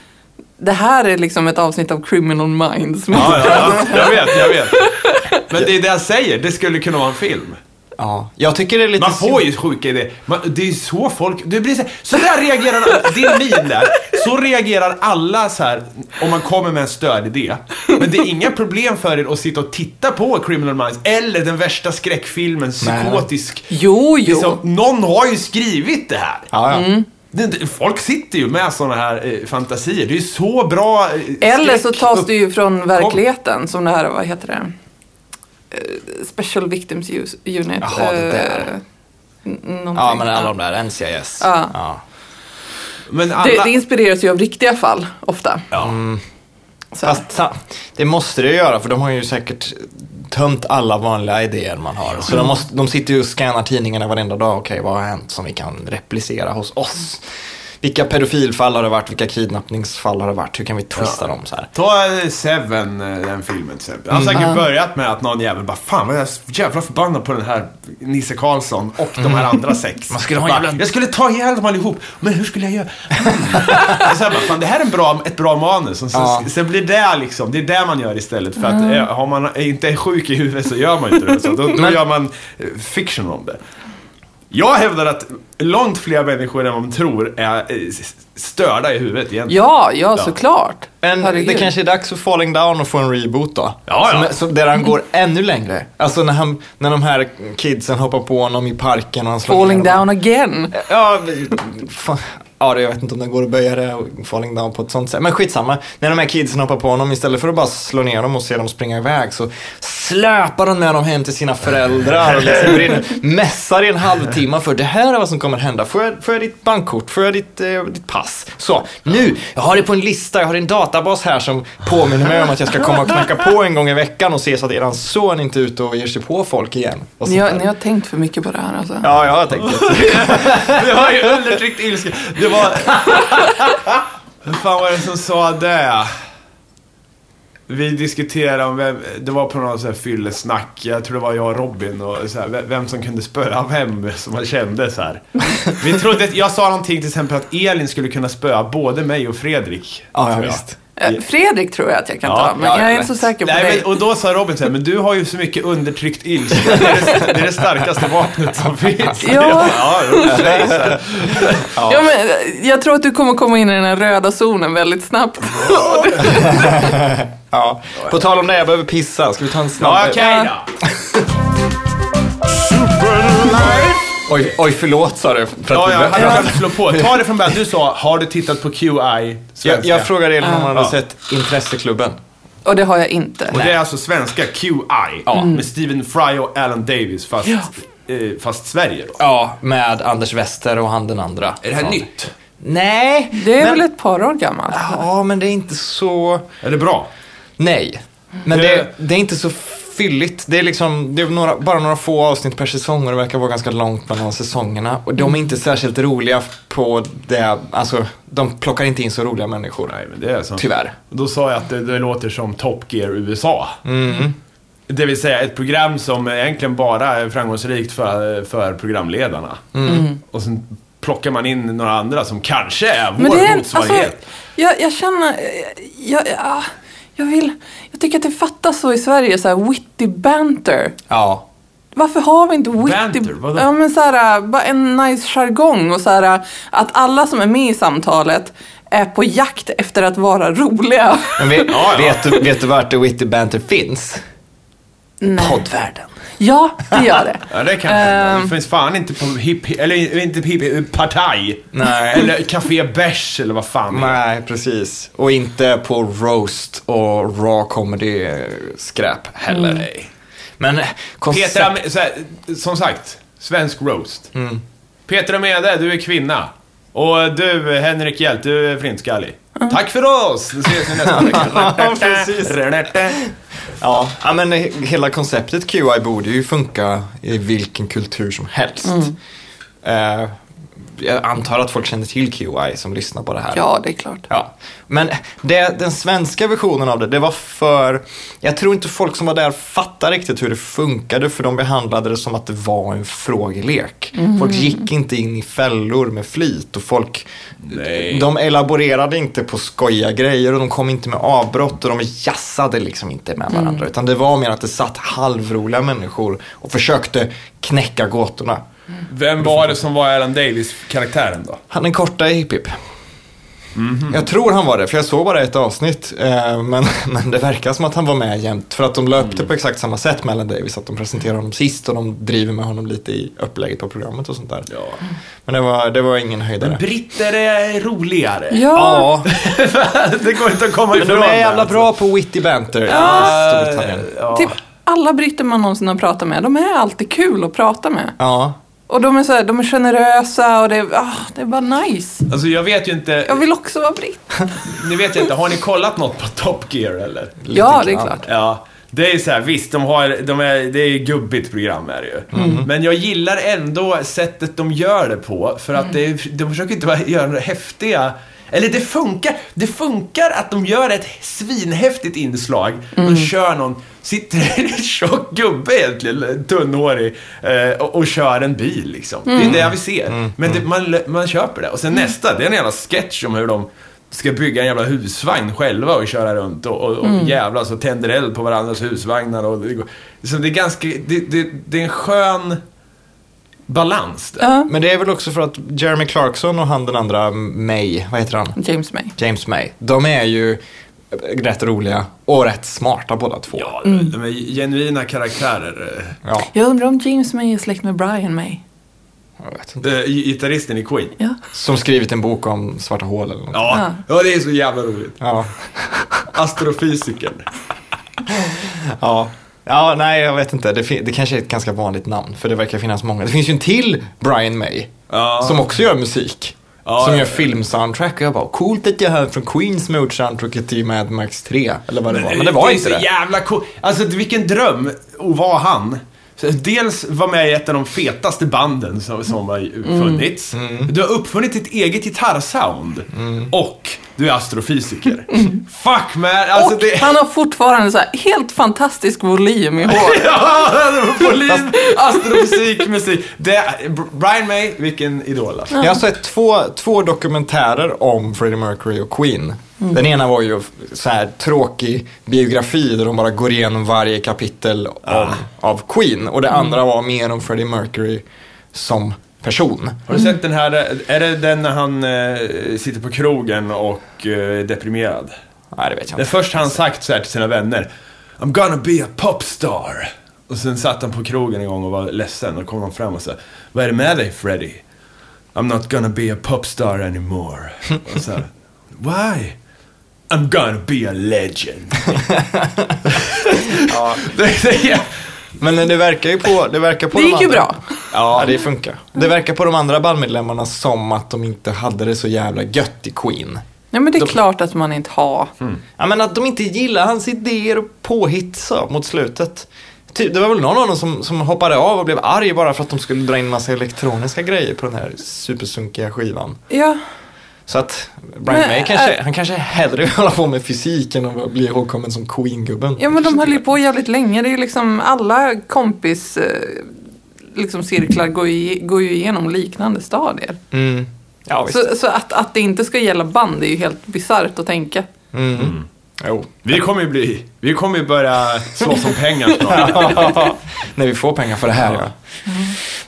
det här är liksom ett avsnitt av Criminal Minds.
Ja, ja, ja, jag vet, jag vet. Men det är det jag säger, det skulle kunna vara en film.
ja. Jag tycker det är lite
Man får ju sjuka idéer. Man, det är ju så folk... Det blir så, här- så där reagerar... Din min där. Så reagerar alla så här om man kommer med en stödidé. Men det är inga problem för er att sitta och titta på Criminal Minds eller den värsta skräckfilmen, psykotisk.
Jo, jo.
Liksom, någon har ju skrivit det här.
Ja, ja.
Mm.
Det- det- Folk sitter ju med sådana här eh, fantasier. Det är ju så bra eh,
Eller så
skräck-
tas det ju från verkligheten som det här, vad heter det? Eh, Special Victims Us- Unit.
Jaha, det där.
eh, n- någonting.
ja, men alla de där, NCIS.
Ja.
Ja.
Men alla...
Det, det inspireras ju av riktiga fall, ofta.
Ja.
Så.
Fast sa- det måste det ju göra för de har ju säkert tömt alla vanliga idéer man har. Så de, måste, de sitter ju och scannar tidningarna varenda dag. Okej, vad har hänt som vi kan replicera hos oss? Vilka pedofilfall har det varit? Vilka kidnappningsfall har det varit? Hur kan vi twista dem så här?
Ta eh, Seven, eh, den filmen till exempel.
Mm.
Han har säkert börjat med att någon jävel bara Fan vad jag är så jävla förbannad på den här Nisse Karlsson och de här andra sex.
Mm. Man skulle ha en
Bara,
jävla-
Jag skulle ta ihjäl dem allihop, men hur skulle jag göra? och så här, bara, Fan det här är en bra, ett bra manus. Och sen,
Ja.
sen blir det liksom, det är det man gör istället. För att eh, har man inte är sjuk i huvudet så gör man inte det. Så då då
Men-
gör man eh, fiction om det. Jag hävdar att långt fler människor än vad man tror är eh, s- störda i huvudet egentligen.
Ja, ja, såklart.
Men
Herregud.
det kanske är dags för Falling Down och få en reboot då.
Ja, ja.
Som, som, där han går ännu längre. Alltså när, han, när de här kidsen hoppar på honom i parken och han slår
Falling
ner dem.
down again.
Ja, vi- fan. ja, det- jag vet inte om det går att böja det och falling down på ett sånt sätt. Men skitsamma. När de här kidsen hoppar på honom, istället för att bara slå ner dem och se dem springa iväg så släpar han med dem hem till sina föräldrar och liksom brinner- mässar i en halvtimme för det här är vad som kommer hända. Får jag, får jag ditt bankkort? Får jag ditt, eh, ditt pass? Så, nu! Jag har det på en lista, jag har en databas här som påminner mig om att jag ska komma och knacka på en gång i veckan och se så att eran son inte är ute och ger sig på folk igen. Och
Ni
sånt
har,
där.
ni har tänkt för mycket på det här alltså.
Ja, jag har tänkt det.
Det var ju undertryckt ilska. Det var... Vem fan var det som sa det? Vi diskuterade om vem, det var på något så här fyllesnack, jag tror det var jag och Robin och så här, ve- vem som kunde spöa vem som man kände så här. Vi trodde, att- jag sa någonting till exempel att Elin skulle kunna spöa både mig och Fredrik.
Ja, ja,
tror jag.
visst.
Eh, Fredrik tror jag att jag kan
Ja,
ta, men
ja,
jag är
jag
inte så
vet.
säker på
Nej,
dig.
men, och då sa Robin så här, men du har ju så mycket undertryckt ilska, det är det, det, är det starkaste vapnet som finns.
Ja.
Jag bara, ja jo, i och för sig, så här.
Ja, men eh, jag tror att du kommer komma in i den här röda zonen väldigt snabbt.
Ja. På tal om det, jag behöver pissa. Ska vi ta en snabb?
Ja, okej då.
oj, oj, förlåt sa du. För att
Ja,
vi-
ja, han kan slå på. Ta det från början. Du sa, har du tittat på QI?
jag,
Svenska.
jag frågade Elin om hon hade
Ja.
sett Intresseklubben.
Och det har jag inte.
och det är alltså svenska QI. Med Stephen Fry och Alan Davis, fast, eh, fast Sverige då.
Ja, med Anders Wester och han den andra.
Är det här
Ja.
nytt?
Nej.
Det är
men,
väl ett par år gammalt?
Ja, men det är inte så...
Är det bra?
Nej. Men
Det-
det, det är inte så fylligt. Det är liksom, det är några, bara några få avsnitt per säsong och det verkar vara ganska långt mellan säsongerna. Och de är inte särskilt roliga på det, alltså de plockar inte in så roliga människor.
Nej, men det är så.
Tyvärr.
Då sa jag att det, det låter som Top Gear USA.
Mm-hmm.
Det vill säga ett program som egentligen bara är framgångsrikt för, för programledarna.
Mm-hmm.
Mm. Och sen plockar man in några andra som kanske är vår
Men det är en, alltså,
motsvarighet.
jag, jag känner, jag, jag, jag vill, jag tycker att det fattas så i Sverige, så här witty banter.
Ja.
Varför har vi inte witty...
Banter, vadå?
Ja men så här, bara en nice jargong och så här, att alla som är med i samtalet är på jakt efter att vara roliga.
Men vet, vet, du, vet du vart The Witty Banter finns?
Nej.
Poddvärlden.
Ja, det gör det.
Ja, det kan hända.
Ehm.
Det finns fan inte på hipp... Eller inte på hipp... Partaj.
Nej.
Eller Café Bärs eller vad fan det är.
Nej, precis. Och inte på roast och raw comedy-skräp heller.
Mm.
Men eh, koncept...
Peter Am- så här, Som sagt, svensk roast.
Mm.
Peter Amede, du är kvinna. Och du, Henrik Hjält, du är flintskallig. Tack för oss! Det ses ni nästa vecka.
precis. Ja, ja, men he- hela konceptet QI borde ju funka i vilken kultur som helst.
Mm.
Eh, jag antar att folk känner till QI som lyssnar på det här.
Ja, det är klart.
Ja. Men det, den svenska versionen av det, det var för... Jag tror inte folk som var där fattade riktigt hur det funkade för de behandlade det som att det var en frågelek. Folk gick inte in i fällor med flit och folk... De elaborerade inte på skoja grejer och de kom inte med avbrott och de jassade liksom inte med varandra. Utan det var mer att det satt halvroliga människor och försökte knäcka gåtorna.
Vem var det som var Alan Davis-karaktären då?
Han den korta i Hipp Hipp. Jag tror han var det, för jag såg bara ett avsnitt. Eh, Men, men det verkar som att han var med jämt. För att de löpte på exakt samma sätt med Alan Davis. Att de presenterar honom sist och de driver med honom lite i upplägget på programmet och sånt där. Men det var, det var ingen höjdare.
Britter är roligare.
Ja,
Ja,
det går inte att komma
men
ifrån.
de är
det,
jävla
alltså.
bra på witty banter i Storbritannien.
typ alla britter man någonsin har pratat med, de är alltid kul att prata med.
Ja,
Och de är, så här, de är generösa och det är, ah, det är bara nice.
Alltså jag vet ju inte,
Jag vill också vara britt.
nu vet jag inte, har ni kollat något på Top Gear eller?
Ja, det är
grann.
klart.
Ja, det är ju så här, visst, de har, de är, det är ju gubbigt program är det ju. Men jag gillar ändå sättet de gör det på, för att det, är- de försöker inte bara göra några häftiga eller det funkar, det funkar att de gör ett svinhäftigt inslag. De kör någon, sitter en tjock gubbe egentligen, tunnhårig, eh, och, och kör en bil liksom. Det är det vi ser. Men det, man, man köper det. Och sen nästa, det är en jävla sketch om hur de ska bygga en jävla husvagn själva och köra runt och, och, och jävlas och tänder eld på varandras husvagnar. Och det, går- så det är ganska, det, det, det är en skön balans där.
Men det är väl också för att Jeremy Clarkson och han den andra, May, vad heter han?
James May.
James May. De är ju rätt roliga och rätt smarta båda två.
Ja, mm. de är genuina karaktärer. eh.
Ja,
Jag undrar om James May är släkt med Brian May.
jag vet inte.
Eh, gi- Gitarristen i Queen.
Ja.
Som skrivit en bok om svarta hål eller något.
Ja. ja, det är så jävla roligt.
Ja.
Astrofysikern.
ja. Ja, nej jag vet inte. Det, fin- det kanske är ett ganska vanligt namn för det verkar finnas många. Det finns ju en till Brian May
Ja.
som också gör musik.
Ja,
som
ja,
gör
ja.
filmsoundtrack och jag bara coolt att jag hör från Queens som har gjort soundtracket till Mad Max 3. Eller vad det var. Men det var
är
inte
så
det.
jävla cool. Alltså vilken dröm att vara han. Så Dels var med i ett av de fetaste banden som, som har
Mm.
funnits. Du har uppfunnit ditt eget gitarrsound.
Mm.
Och du är astrofysiker. Fuck man, alltså
och
det...
han har fortfarande så här helt fantastisk volym i håret.
Ja, det var volym, astrofysik, musik. Det, Brian May, vilken idol alltså.
Jag har sett två, två dokumentärer om Freddie Mercury och Queen.
Mm.
Den ena var ju så här tråkig biografi där de bara går igenom varje kapitel om, av Queen. Och det
Mm.
andra var mer om Freddie Mercury som person.
Har du sett den här, är det den när han eh, sitter på krogen och eh, är deprimerad?
Nej, det vet jag
Det är
inte.
först han sagt så här till sina vänner. I'm gonna be a popstar. Och sen satt han på krogen en gång och var ledsen. Och kom han fram och sa. Vad är det med dig Freddy? I'm not gonna be a popstar anymore. Och så här, Why? I'm gonna be a legend. det, det, är-
Men det verkar ju på... Det, verkar på
Det
de
gick ju
andra-
bra.
Ja, det funkar. Det verkar på de andra bandmedlemmarna som att de inte hade det så jävla gött i Queen.
Ja, men det är klart att man inte har.
Ja, men att de inte gillar hans idéer och påhitt så, mot slutet. Typ, det var väl någon av dem som, som hoppade av och blev arg bara för att de skulle dra in massa elektroniska grejer på den här supersunkiga skivan.
Ja,
Så att Brian
Men,
May kanske,
äh,
han kanske hellre vill hålla på med fysiken och bli ihågkommen som Queen-gubben.
ja men de höll ju på jävligt länge. Det är ju liksom alla kompis eh, liksom cirklar går ju, går ju igenom liknande stadier.
Mm. Ja, visst.
Så, så att, att det inte ska gälla band är ju helt bisarrt att tänka.
Mm.
Mm.
Jo.
vi kommer ju bli, vi kommer ju börja slåss om pengar snart.
När vi får pengar för det här, ja.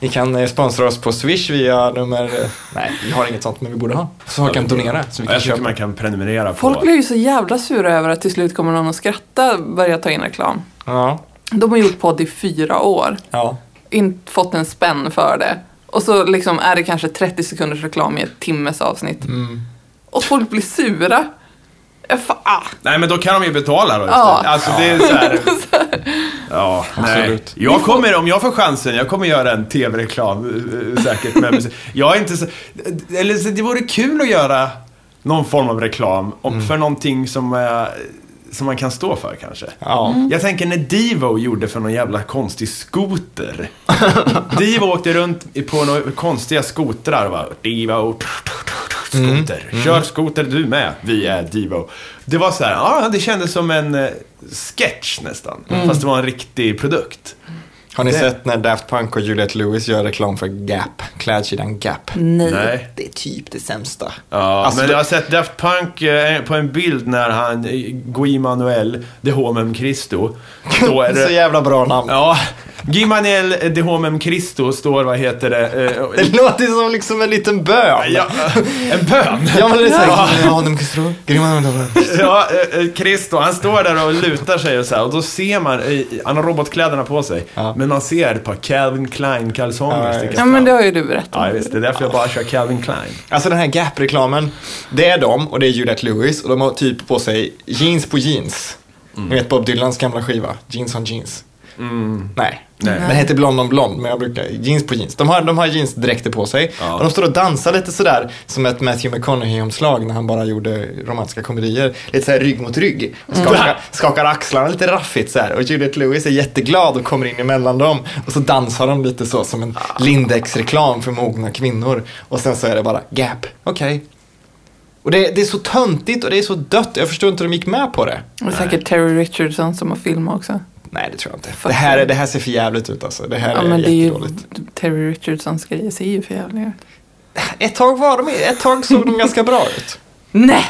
Ni kan eh, sponsra oss på Swish via nummer... eh, Nej, vi har inget sånt, men vi borde ha. Så folk kan donera, så vi kan
Jag tycker
köpa.
man kan prenumerera på...
Folk blir ju så jävla sura över att till slut kommer någon att skratta börja ta in reklam.
Ja,
De har gjort podd i fyra år,
ja.
inte fått en spänn för det. Och så liksom är det kanske 30 sekunders reklam i ett timmes avsnitt. Och folk blir sura. Jag fa- ah.
Nej men då kan de ju betala då
Ja.
istället. Alltså det är så här... Ja, nej.
Absolut.
Jag kommer, om jag får chansen, jag kommer göra en tv-reklam eh, säkert med musik. Jag är inte så... Eller så, det vore kul att göra någon form av reklam om, för någonting som, eh, som man kan stå för kanske.
ja.
Jag tänker när Divo gjorde för någon jävla konstig skoter. Divo åkte runt i- på några konstiga skotrar va. Divo,
Mm.
skoter. Kör skoter du med. Vi är Divo. Det var så här, ja det kändes som en eh, sketch nästan.
Mm.
Fast det var en riktig produkt.
Har ni
Det-
sett när Daft Punk och Juliette Lewis gör reklam för Gap? Klädkedjan Gap.
Nej.
Nej.
Det är typ det sämsta.
Ja,
Alltså,
men
det-
jag har sett Daft Punk eh, på en bild när han, eh, Guy Manuel, de Homem Christo. Då är
Så
det,
jävla bra namn.
ja, Guy Manuel eh, de Homem Christo står, vad heter det? eh,
Det låter som liksom en liten bön.
Ja, en bön.
Ja, men det är så här, Adam Castro, Grimman och Adam.
Ja, eh, eh, Christo, han står där och lutar sig och så här, och då ser man, eh, han har robotkläderna på sig,
Ja.
men man ser ett par Calvin Klein-kalsonger
Ja,
sticka
Ja,
fram.
men det har ju du berättat.
Ja, visst. Det är därför jag bara kör Calvin Klein.
Alltså den här Gap-reklamen, det är de och det är Juliette Lewis och de har typ på sig jeans på jeans.
Mm.
Ni vet Bob Dylans gamla skiva, Jeans on Jeans. Nej. den heter Blond on Blond, men jag brukar jeans på jeans. De har, de har jeansdräkter på sig
Ja.
och de står och dansar lite sådär som ett Matthew McConaughey-omslag när han bara gjorde romantiska komedier. Lite såhär rygg mot rygg. Och Skakar, skakar axlarna lite raffigt såhär och Juliette Lewis är jätteglad och kommer in emellan dem och så dansar de lite så som en Lindex-reklam för mogna kvinnor. Och sen så är det bara gap, okej. Och det, det är så töntigt och det är så dött. Jag förstår inte hur de gick med på det.
Det är säkert Terry Richardson som har filmat också.
Nej, det tror jag inte. Det här, är- det här ser för jävligt ut alltså. Det här
Ja,
är
men det är ju
jättedåligt.
Terry Richardsons grejer ser ju för jävliga ut.
Ett tag var de Ett tag såg de ganska bra ut.
Nej!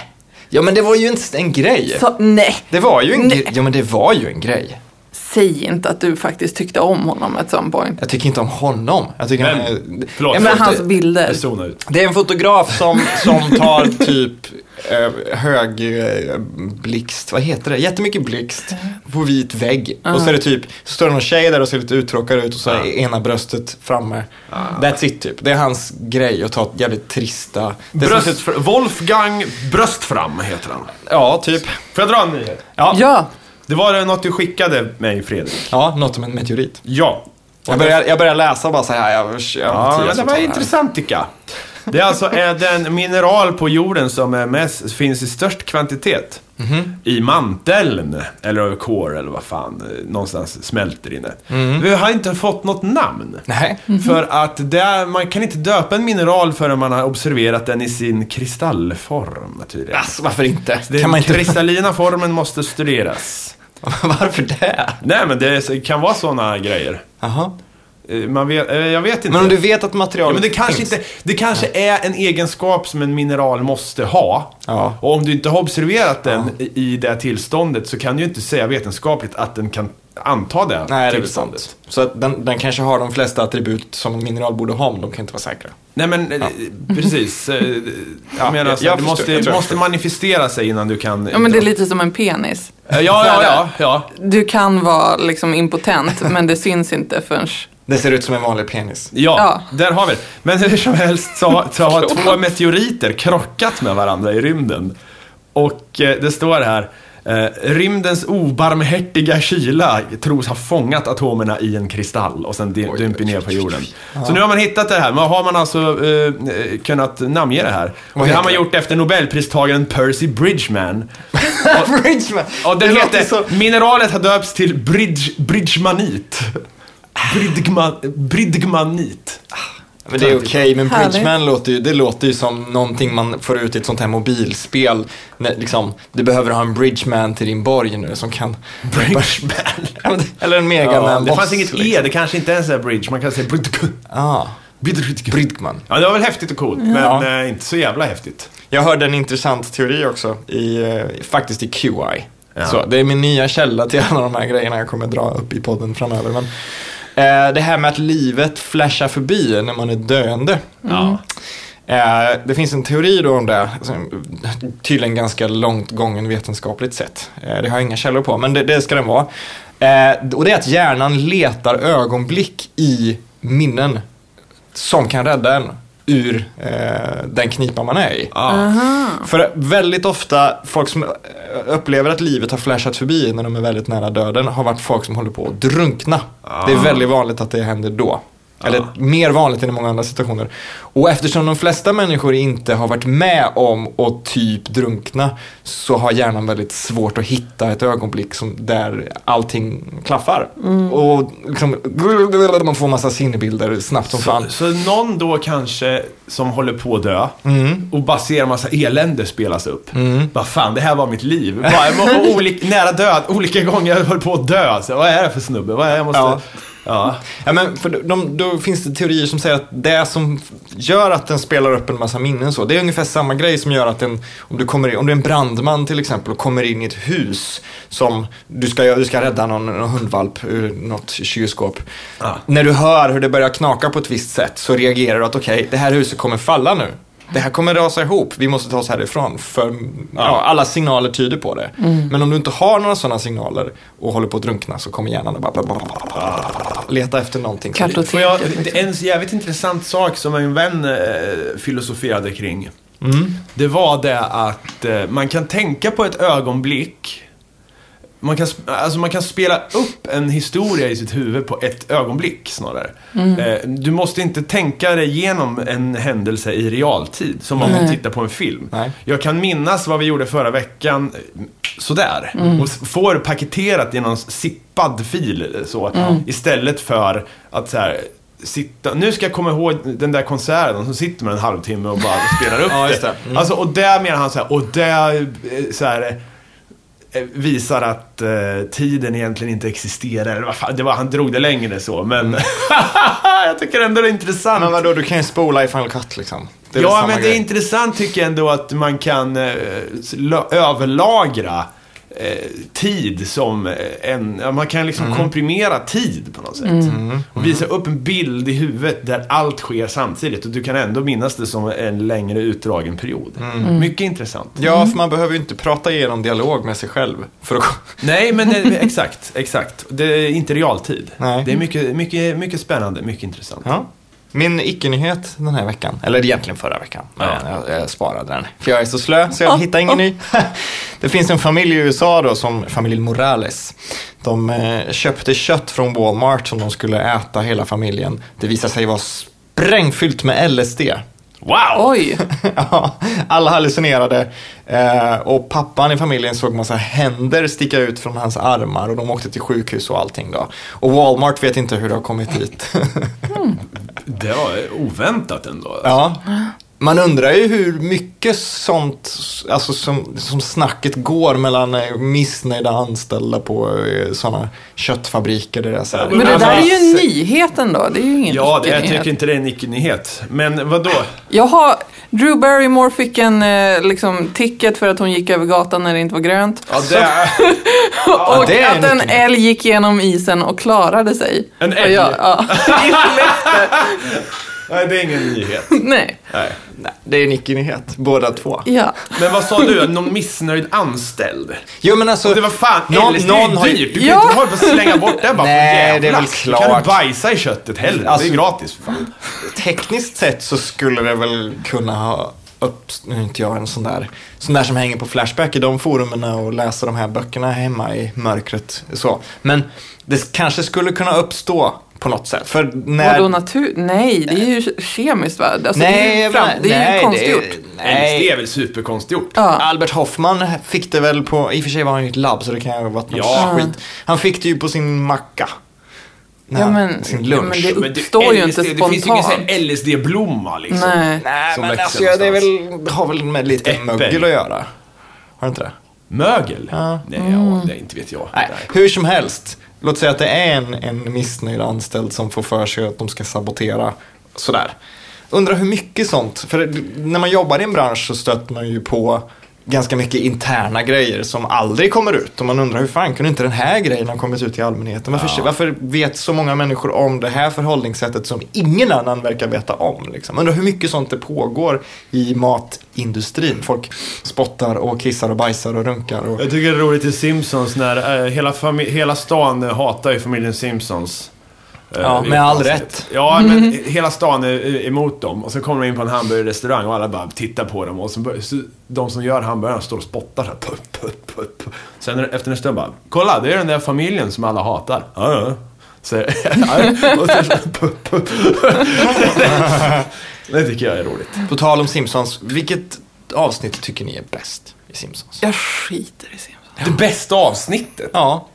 Ja, men det var ju en, en grej.
Så, nej!
Det var ju en
Nej.
grej. Ja, men det var ju en grej.
Säg inte att du faktiskt tyckte om honom at some point.
Jag tycker inte om honom. Jag tycker
Vem?
han är-
Förlåt.
Ja,
Men
men
hans
han...
bilder.
Det zonar ut.
Det är en fotograf som, som tar typ eh, hög eh, blixt, vad heter det? Jättemycket blixt på vit vägg. Och så är det typ, så står det någon tjej där och ser lite uttråkad ut och så är ena bröstet framme. That's it typ. Det är hans grej att ta jävligt trista... Det är som
Bröst, Wolfgang Bröstfram heter han.
Ja, typ.
Får jag dra en nyhet?
Ja!
Det var något du skickade mig, Fredrik.
Ja, något om en meteorit.
Ja.
Jag börjar, jag börjar läsa och bara så här, jag, jag, jag
Ja, men
Mattias
det
får
var
ta här.
intressant tycker jag. Det är alltså eh, den mineral på jorden som är mest, finns i störst kvantitet.
Mhm.
I manteln, eller över kår eller vad fan, eh, någonstans smälter inne. Vi har inte fått något namn.
Mhm. Nej.
För att det är, man kan inte döpa en mineral förrän man har observerat den i sin kristallform tydligen.
Alltså, varför inte?
Den
Kan man inte...
kristallina formen måste studeras.
varför det?
Nej men det är- kan vara sådana grejer.
Jaha.
Eh, Man vet, eh, jag vet inte.
Men om du vet att
Ja,
materialet
men det kanske,
finns.
inte, det kanske är en egenskap som en mineral måste ha.
Ja.
Och om du inte har observerat den i- i det tillståndet så kan du ju inte säga vetenskapligt att den kan anta det
Nej, det är väl
tillståndet.
sant. Så att den, den kanske har de flesta attribut som en mineral borde ha, men de kan inte vara säkra.
Nej men eh, precis. Eh, Jag menar, så här,
jag- jag
du
förstår,
måste,
jag tror jag
måste manifestera sig innan du kan...
Ja, men det är lite som en penis.
ja, ja, ja, ja.
Du kan vara liksom impotent, men det syns inte förrän...
Det ser ut som en vanlig penis.
Ja,
Ja.
där har vi det. Men hur som helst så, har- så har två meteoriter krockat med varandra i rymden. Och eh, det står här, eh, rymdens obarmhärtiga kyla tros ha fångat atomerna i en kristall och sen dy- dympit ner på jorden. Så nu har man hittat det här, men har man alltså eh, kunnat namnge det här? Och det har
heter
man
det?
gjort efter Nobelpristagaren Percy Bridgman.
Bridgman!
Och den
Det låter
heter,
så-
mineralet har döpts till bridge, bridgmanit. Bridgman, bridgmanit.
Men det är okej, men
Härligt.
Bridgman låter ju, det låter ju som någonting man får ut i ett sånt här mobilspel. När, liksom, du behöver ha en Bridgman till din borg nu som kan...
Bridgman.
Ja, men det- Eller en megaman
Ja,
boss.
det fanns inget E,
liksom.
det kanske inte ens är bridge. Man kan säga bridge.
Ah,
bridge.
Bridgman.
Ja, det var väl häftigt och coolt, men eh, inte så jävla häftigt.
Jag hörde en intressant teori också, i, eh, faktiskt i QI.
Ja.
Så, det är min nya källa till alla de här grejerna jag kommer dra upp i podden framöver. Men Eh, det här med att livet flashar förbi när man är döende. Eh, Det finns en teori då om det, som tydligen ganska långt gången vetenskapligt sett. Eh, Det har jag inga källor på, men det, det ska den vara. Eh, Och det är att hjärnan letar ögonblick i minnen som kan rädda en ur eh, den knipa man är i.
Ah.
För väldigt ofta, folk som eh, upplever att livet har flashat förbi när de är väldigt nära döden har varit folk som håller på att drunkna. Det är väldigt vanligt att det händer då. Eller mer vanligt än i många andra situationer. Och eftersom de flesta människor inte har varit med om att typ drunkna så har hjärnan väldigt svårt att hitta ett ögonblick som, där allting klaffar. Och liksom, man får massa sinnebilder snabbt som fan.
Så, så någon då kanske som håller på att dö och bara ser en massa elände spelas upp. Vad fan, det här var mitt liv. Bara, jag var olik, nära död, olika gånger jag höll på att dö. Så, vad är det för snubbe? Vad är det? Jag måste...
Ja.
Ja.
Ja, men för de, då finns det teorier som säger att det som gör att den spelar upp en massa minnen så, det är ungefär samma grej som gör att den, om du, kommer in, om du är en brandman till exempel och kommer in i ett hus som du ska, göra- du ska rädda någon, någon hundvalp ur något kylskåp. När du hör hur det börjar knaka på ett visst sätt så reagerar du att okej, det här huset kommer falla nu. Det här kommer rasa ihop, vi måste ta oss härifrån. För ja, alla signaler tyder på det. Men om du inte har några sådana signaler och håller på att drunkna så kommer hjärnan och bara leta efter någonting.
Kartoteket.
Får jag,
liksom.
det- en jävligt intressant sak som en vän eh, filosoferade kring. Det var det att eh, man kan tänka på ett ögonblick. Man kan, sp- alltså man kan spela upp en historia i sitt huvud på ett ögonblick snarare. Eh, du måste inte tänka dig igenom en händelse i realtid, som om du tittar på en film.
Nej.
Jag kan minnas vad vi gjorde förra veckan, eh, sådär. Och s- får paketerat i någon sippad fil eh, så. Istället för att så här, sitta, nu ska jag komma ihåg den där konserten som sitter med en halvtimme och bara spelar upp
Ja,
det.
just det. Mm.
Alltså, och där menar han så här, och där eh, så här, eh, visar att eh, tiden egentligen inte existerar. Eller vad fan, det var, han drog det längre så, men jag tycker ändå det är intressant.
Mm. Men vadå, du kan ju spola i Final Cut liksom. Det är väl
Ja,
samma
men det
grej.
är intressant tycker jag ändå att man kan eh, s- lö- överlagra eh, tid som eh, en... ja, Man kan
Mm.
liksom komprimera tid på något sätt. Och visa upp en bild i huvudet där allt sker samtidigt och du kan ändå minnas det som en längre utdragen period.
Mm.
Mycket intressant.
Ja, för man behöver ju inte prata igenom dialog med sig själv. För att...
Nej, men det, exakt, exakt. Det är inte realtid.
Nej.
Det är mycket, mycket, mycket spännande, mycket intressant.
ja. Min icke-nyhet den här veckan, eller egentligen förra veckan, men jag, jag sparade den. För jag är så slö så jag hittar ingen ny. Det finns en familj i USA då, som familjen Morales. De eh, köpte kött från Walmart som de skulle äta hela familjen. Det visade sig vara sprängfyllt med LSD.
Wow!
Oj,
Ja, alla hallucinerade. Eh, och pappan i familjen såg massa händer sticka ut från hans armar och de åkte till sjukhus och allting då. Och Walmart vet inte hur det har kommit dit.
Det var oväntat ändå.
ja. Man undrar ju hur mycket sånt, alltså som, som snacket går mellan eh, missnöjda anställda på eh, sådana köttfabriker. Där det är så här,
men det där är ju en nyhet ändå. Det är ju ingen
Alltså- Ja, det, jag
icke-nyhet.
tycker inte det är en icke-nyhet. Men vadå?
Jaha, Drew Barrymore fick en eh, liksom, ticket för att hon gick över gatan när det inte var grönt.
Ja, det,
och
det är en
att en
nyckelnyhet.
älg gick genom isen och klarade sig.
En
Och
älg?
jag- Ja, i Skellefteå.
nej, det är ingen nyhet.
Nej,
nej, det är en icke-nyhet, båda två.
ja.
Men vad sa du? Någon missnöjd anställd?
Jo, men alltså,
Det var fan,
Någon-
någon, LSD
någon har
är
ju-
ju dyrt. Du kan
Ja.
inte hålla på och slänga bort det bara
Nej,
för
det är väl
jävlar. Då kan
klart.
du bajsa i köttet heller.
Alltså-
det är gratis för fan.
tekniskt sett så skulle det väl kunna ha upp, nu är inte jag en sån där, sån där som hänger på Flashback i de forumen och läser de här böckerna hemma i mörkret. Så. Men det kanske skulle kunna uppstå på något sätt. För när...
Vadå natur? Nej, det är ju kemiskt va? Alltså, det är ju,
Nej,
fram...
men-
det är ju
nej,
konstgjort.
Nej,
LSD är väl superkonstgjort.
Ja.
Albert Hoffman fick det väl på, i och för sig var han ju i ett labb så det kan ju ha varit något
Ja.
skit. Han fick det ju på sin macka. När
Ja,
han-
men-
sin
ja,
lunch.
men det-
Men
uppstår ju inte
Det finns ju ingen sån
spontant.
här LSD-blomma liksom.
Nej.
Nej,
Som
men
växer
alltså, ja, det är
någonstans.
väl, har väl med lite
Äppel.
mögel att göra? Har det inte det?
Mögel?
Ja.
Nej,
Mm.
ja, det inte vet jag.
Nej, hur som helst. Låt säga att det är en, en missnöjd anställd som får för sig att de ska sabotera. Sådär. Undrar hur mycket sånt, för det- när man jobbar i en bransch så stöter man ju på ganska mycket interna grejer som aldrig kommer ut. Och man undrar hur fan kunde inte den här grejen ha kommit ut till allmänheten? Varför, varför vet så många människor om det här förhållningssättet som ingen annan verkar veta om? Liksom? Undrar hur mycket sånt det pågår i matindustrin. Folk spottar och kissar och bajsar och runkar. Och...
Jag tycker det är roligt i Simpsons när eh, hela, fami- hela stan eh, hatar ju familjen Simpsons. eh,
Ja,
i
med all
avsnitt.
rätt.
Ja, men hela stan är eh, emot dem. Och sen kommer de in på en hamburgerrestaurang och alla bara tittar på dem. Och så bör- så de som gör hamburgaren står och spottar så här. Puff, puff, puff, puff. Sen är det- efter en stund bara, kolla det är den där familjen som alla hatar. Ja, ja. Så, ja, och sen, puff, puff. Det tycker jag är roligt.
På tal om Simpsons, vilket avsnitt tycker ni är bäst i Simpsons?
Jag skiter i Simpsons.
Det bästa avsnittet.
Ja,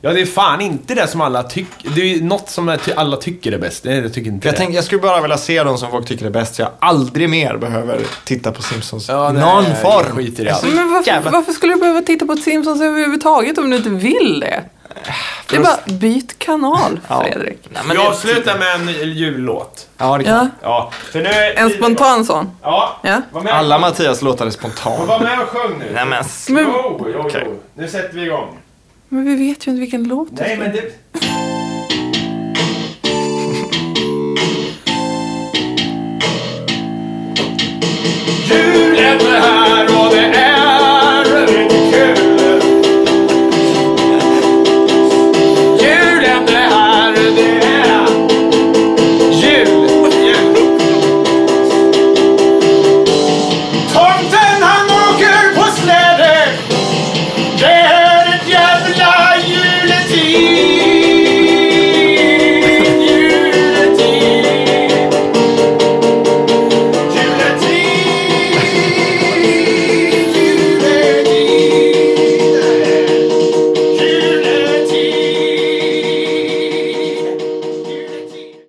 Ja, det är fan inte det som alla tycker. Det är ju något som är- alla tycker är bäst. Nej, det tycker inte
jag,
det.
tänk, jag skulle bara vilja se de som folk tycker är bäst. så Jag aldrig mer behöver titta på Simpsons i
Ja, nej,
någon
jag
form.
skiter i allt.
Alltså,
Men varför,
jävla-
varför skulle du behöva titta på ett Simpsons överhuvudtaget om du inte vill det? Det är bara, byt kanal
Ja.
Fredrik.
Nej,
Vi
men det-
avslutar med en jullåt.
Ja, det kan.
Ja,
Ja, för nu är
en spontan sån.
Ja,
Ja.
var med.
Alla Mattias låtar är
Var
spontana.
med och sjung nu.
Nej men
Men,
Jo, jo,
Okej.
jo. Nu sätter vi igång.
men vi vet ju inte vilken låt det
Nej,
är.
men det... Julen är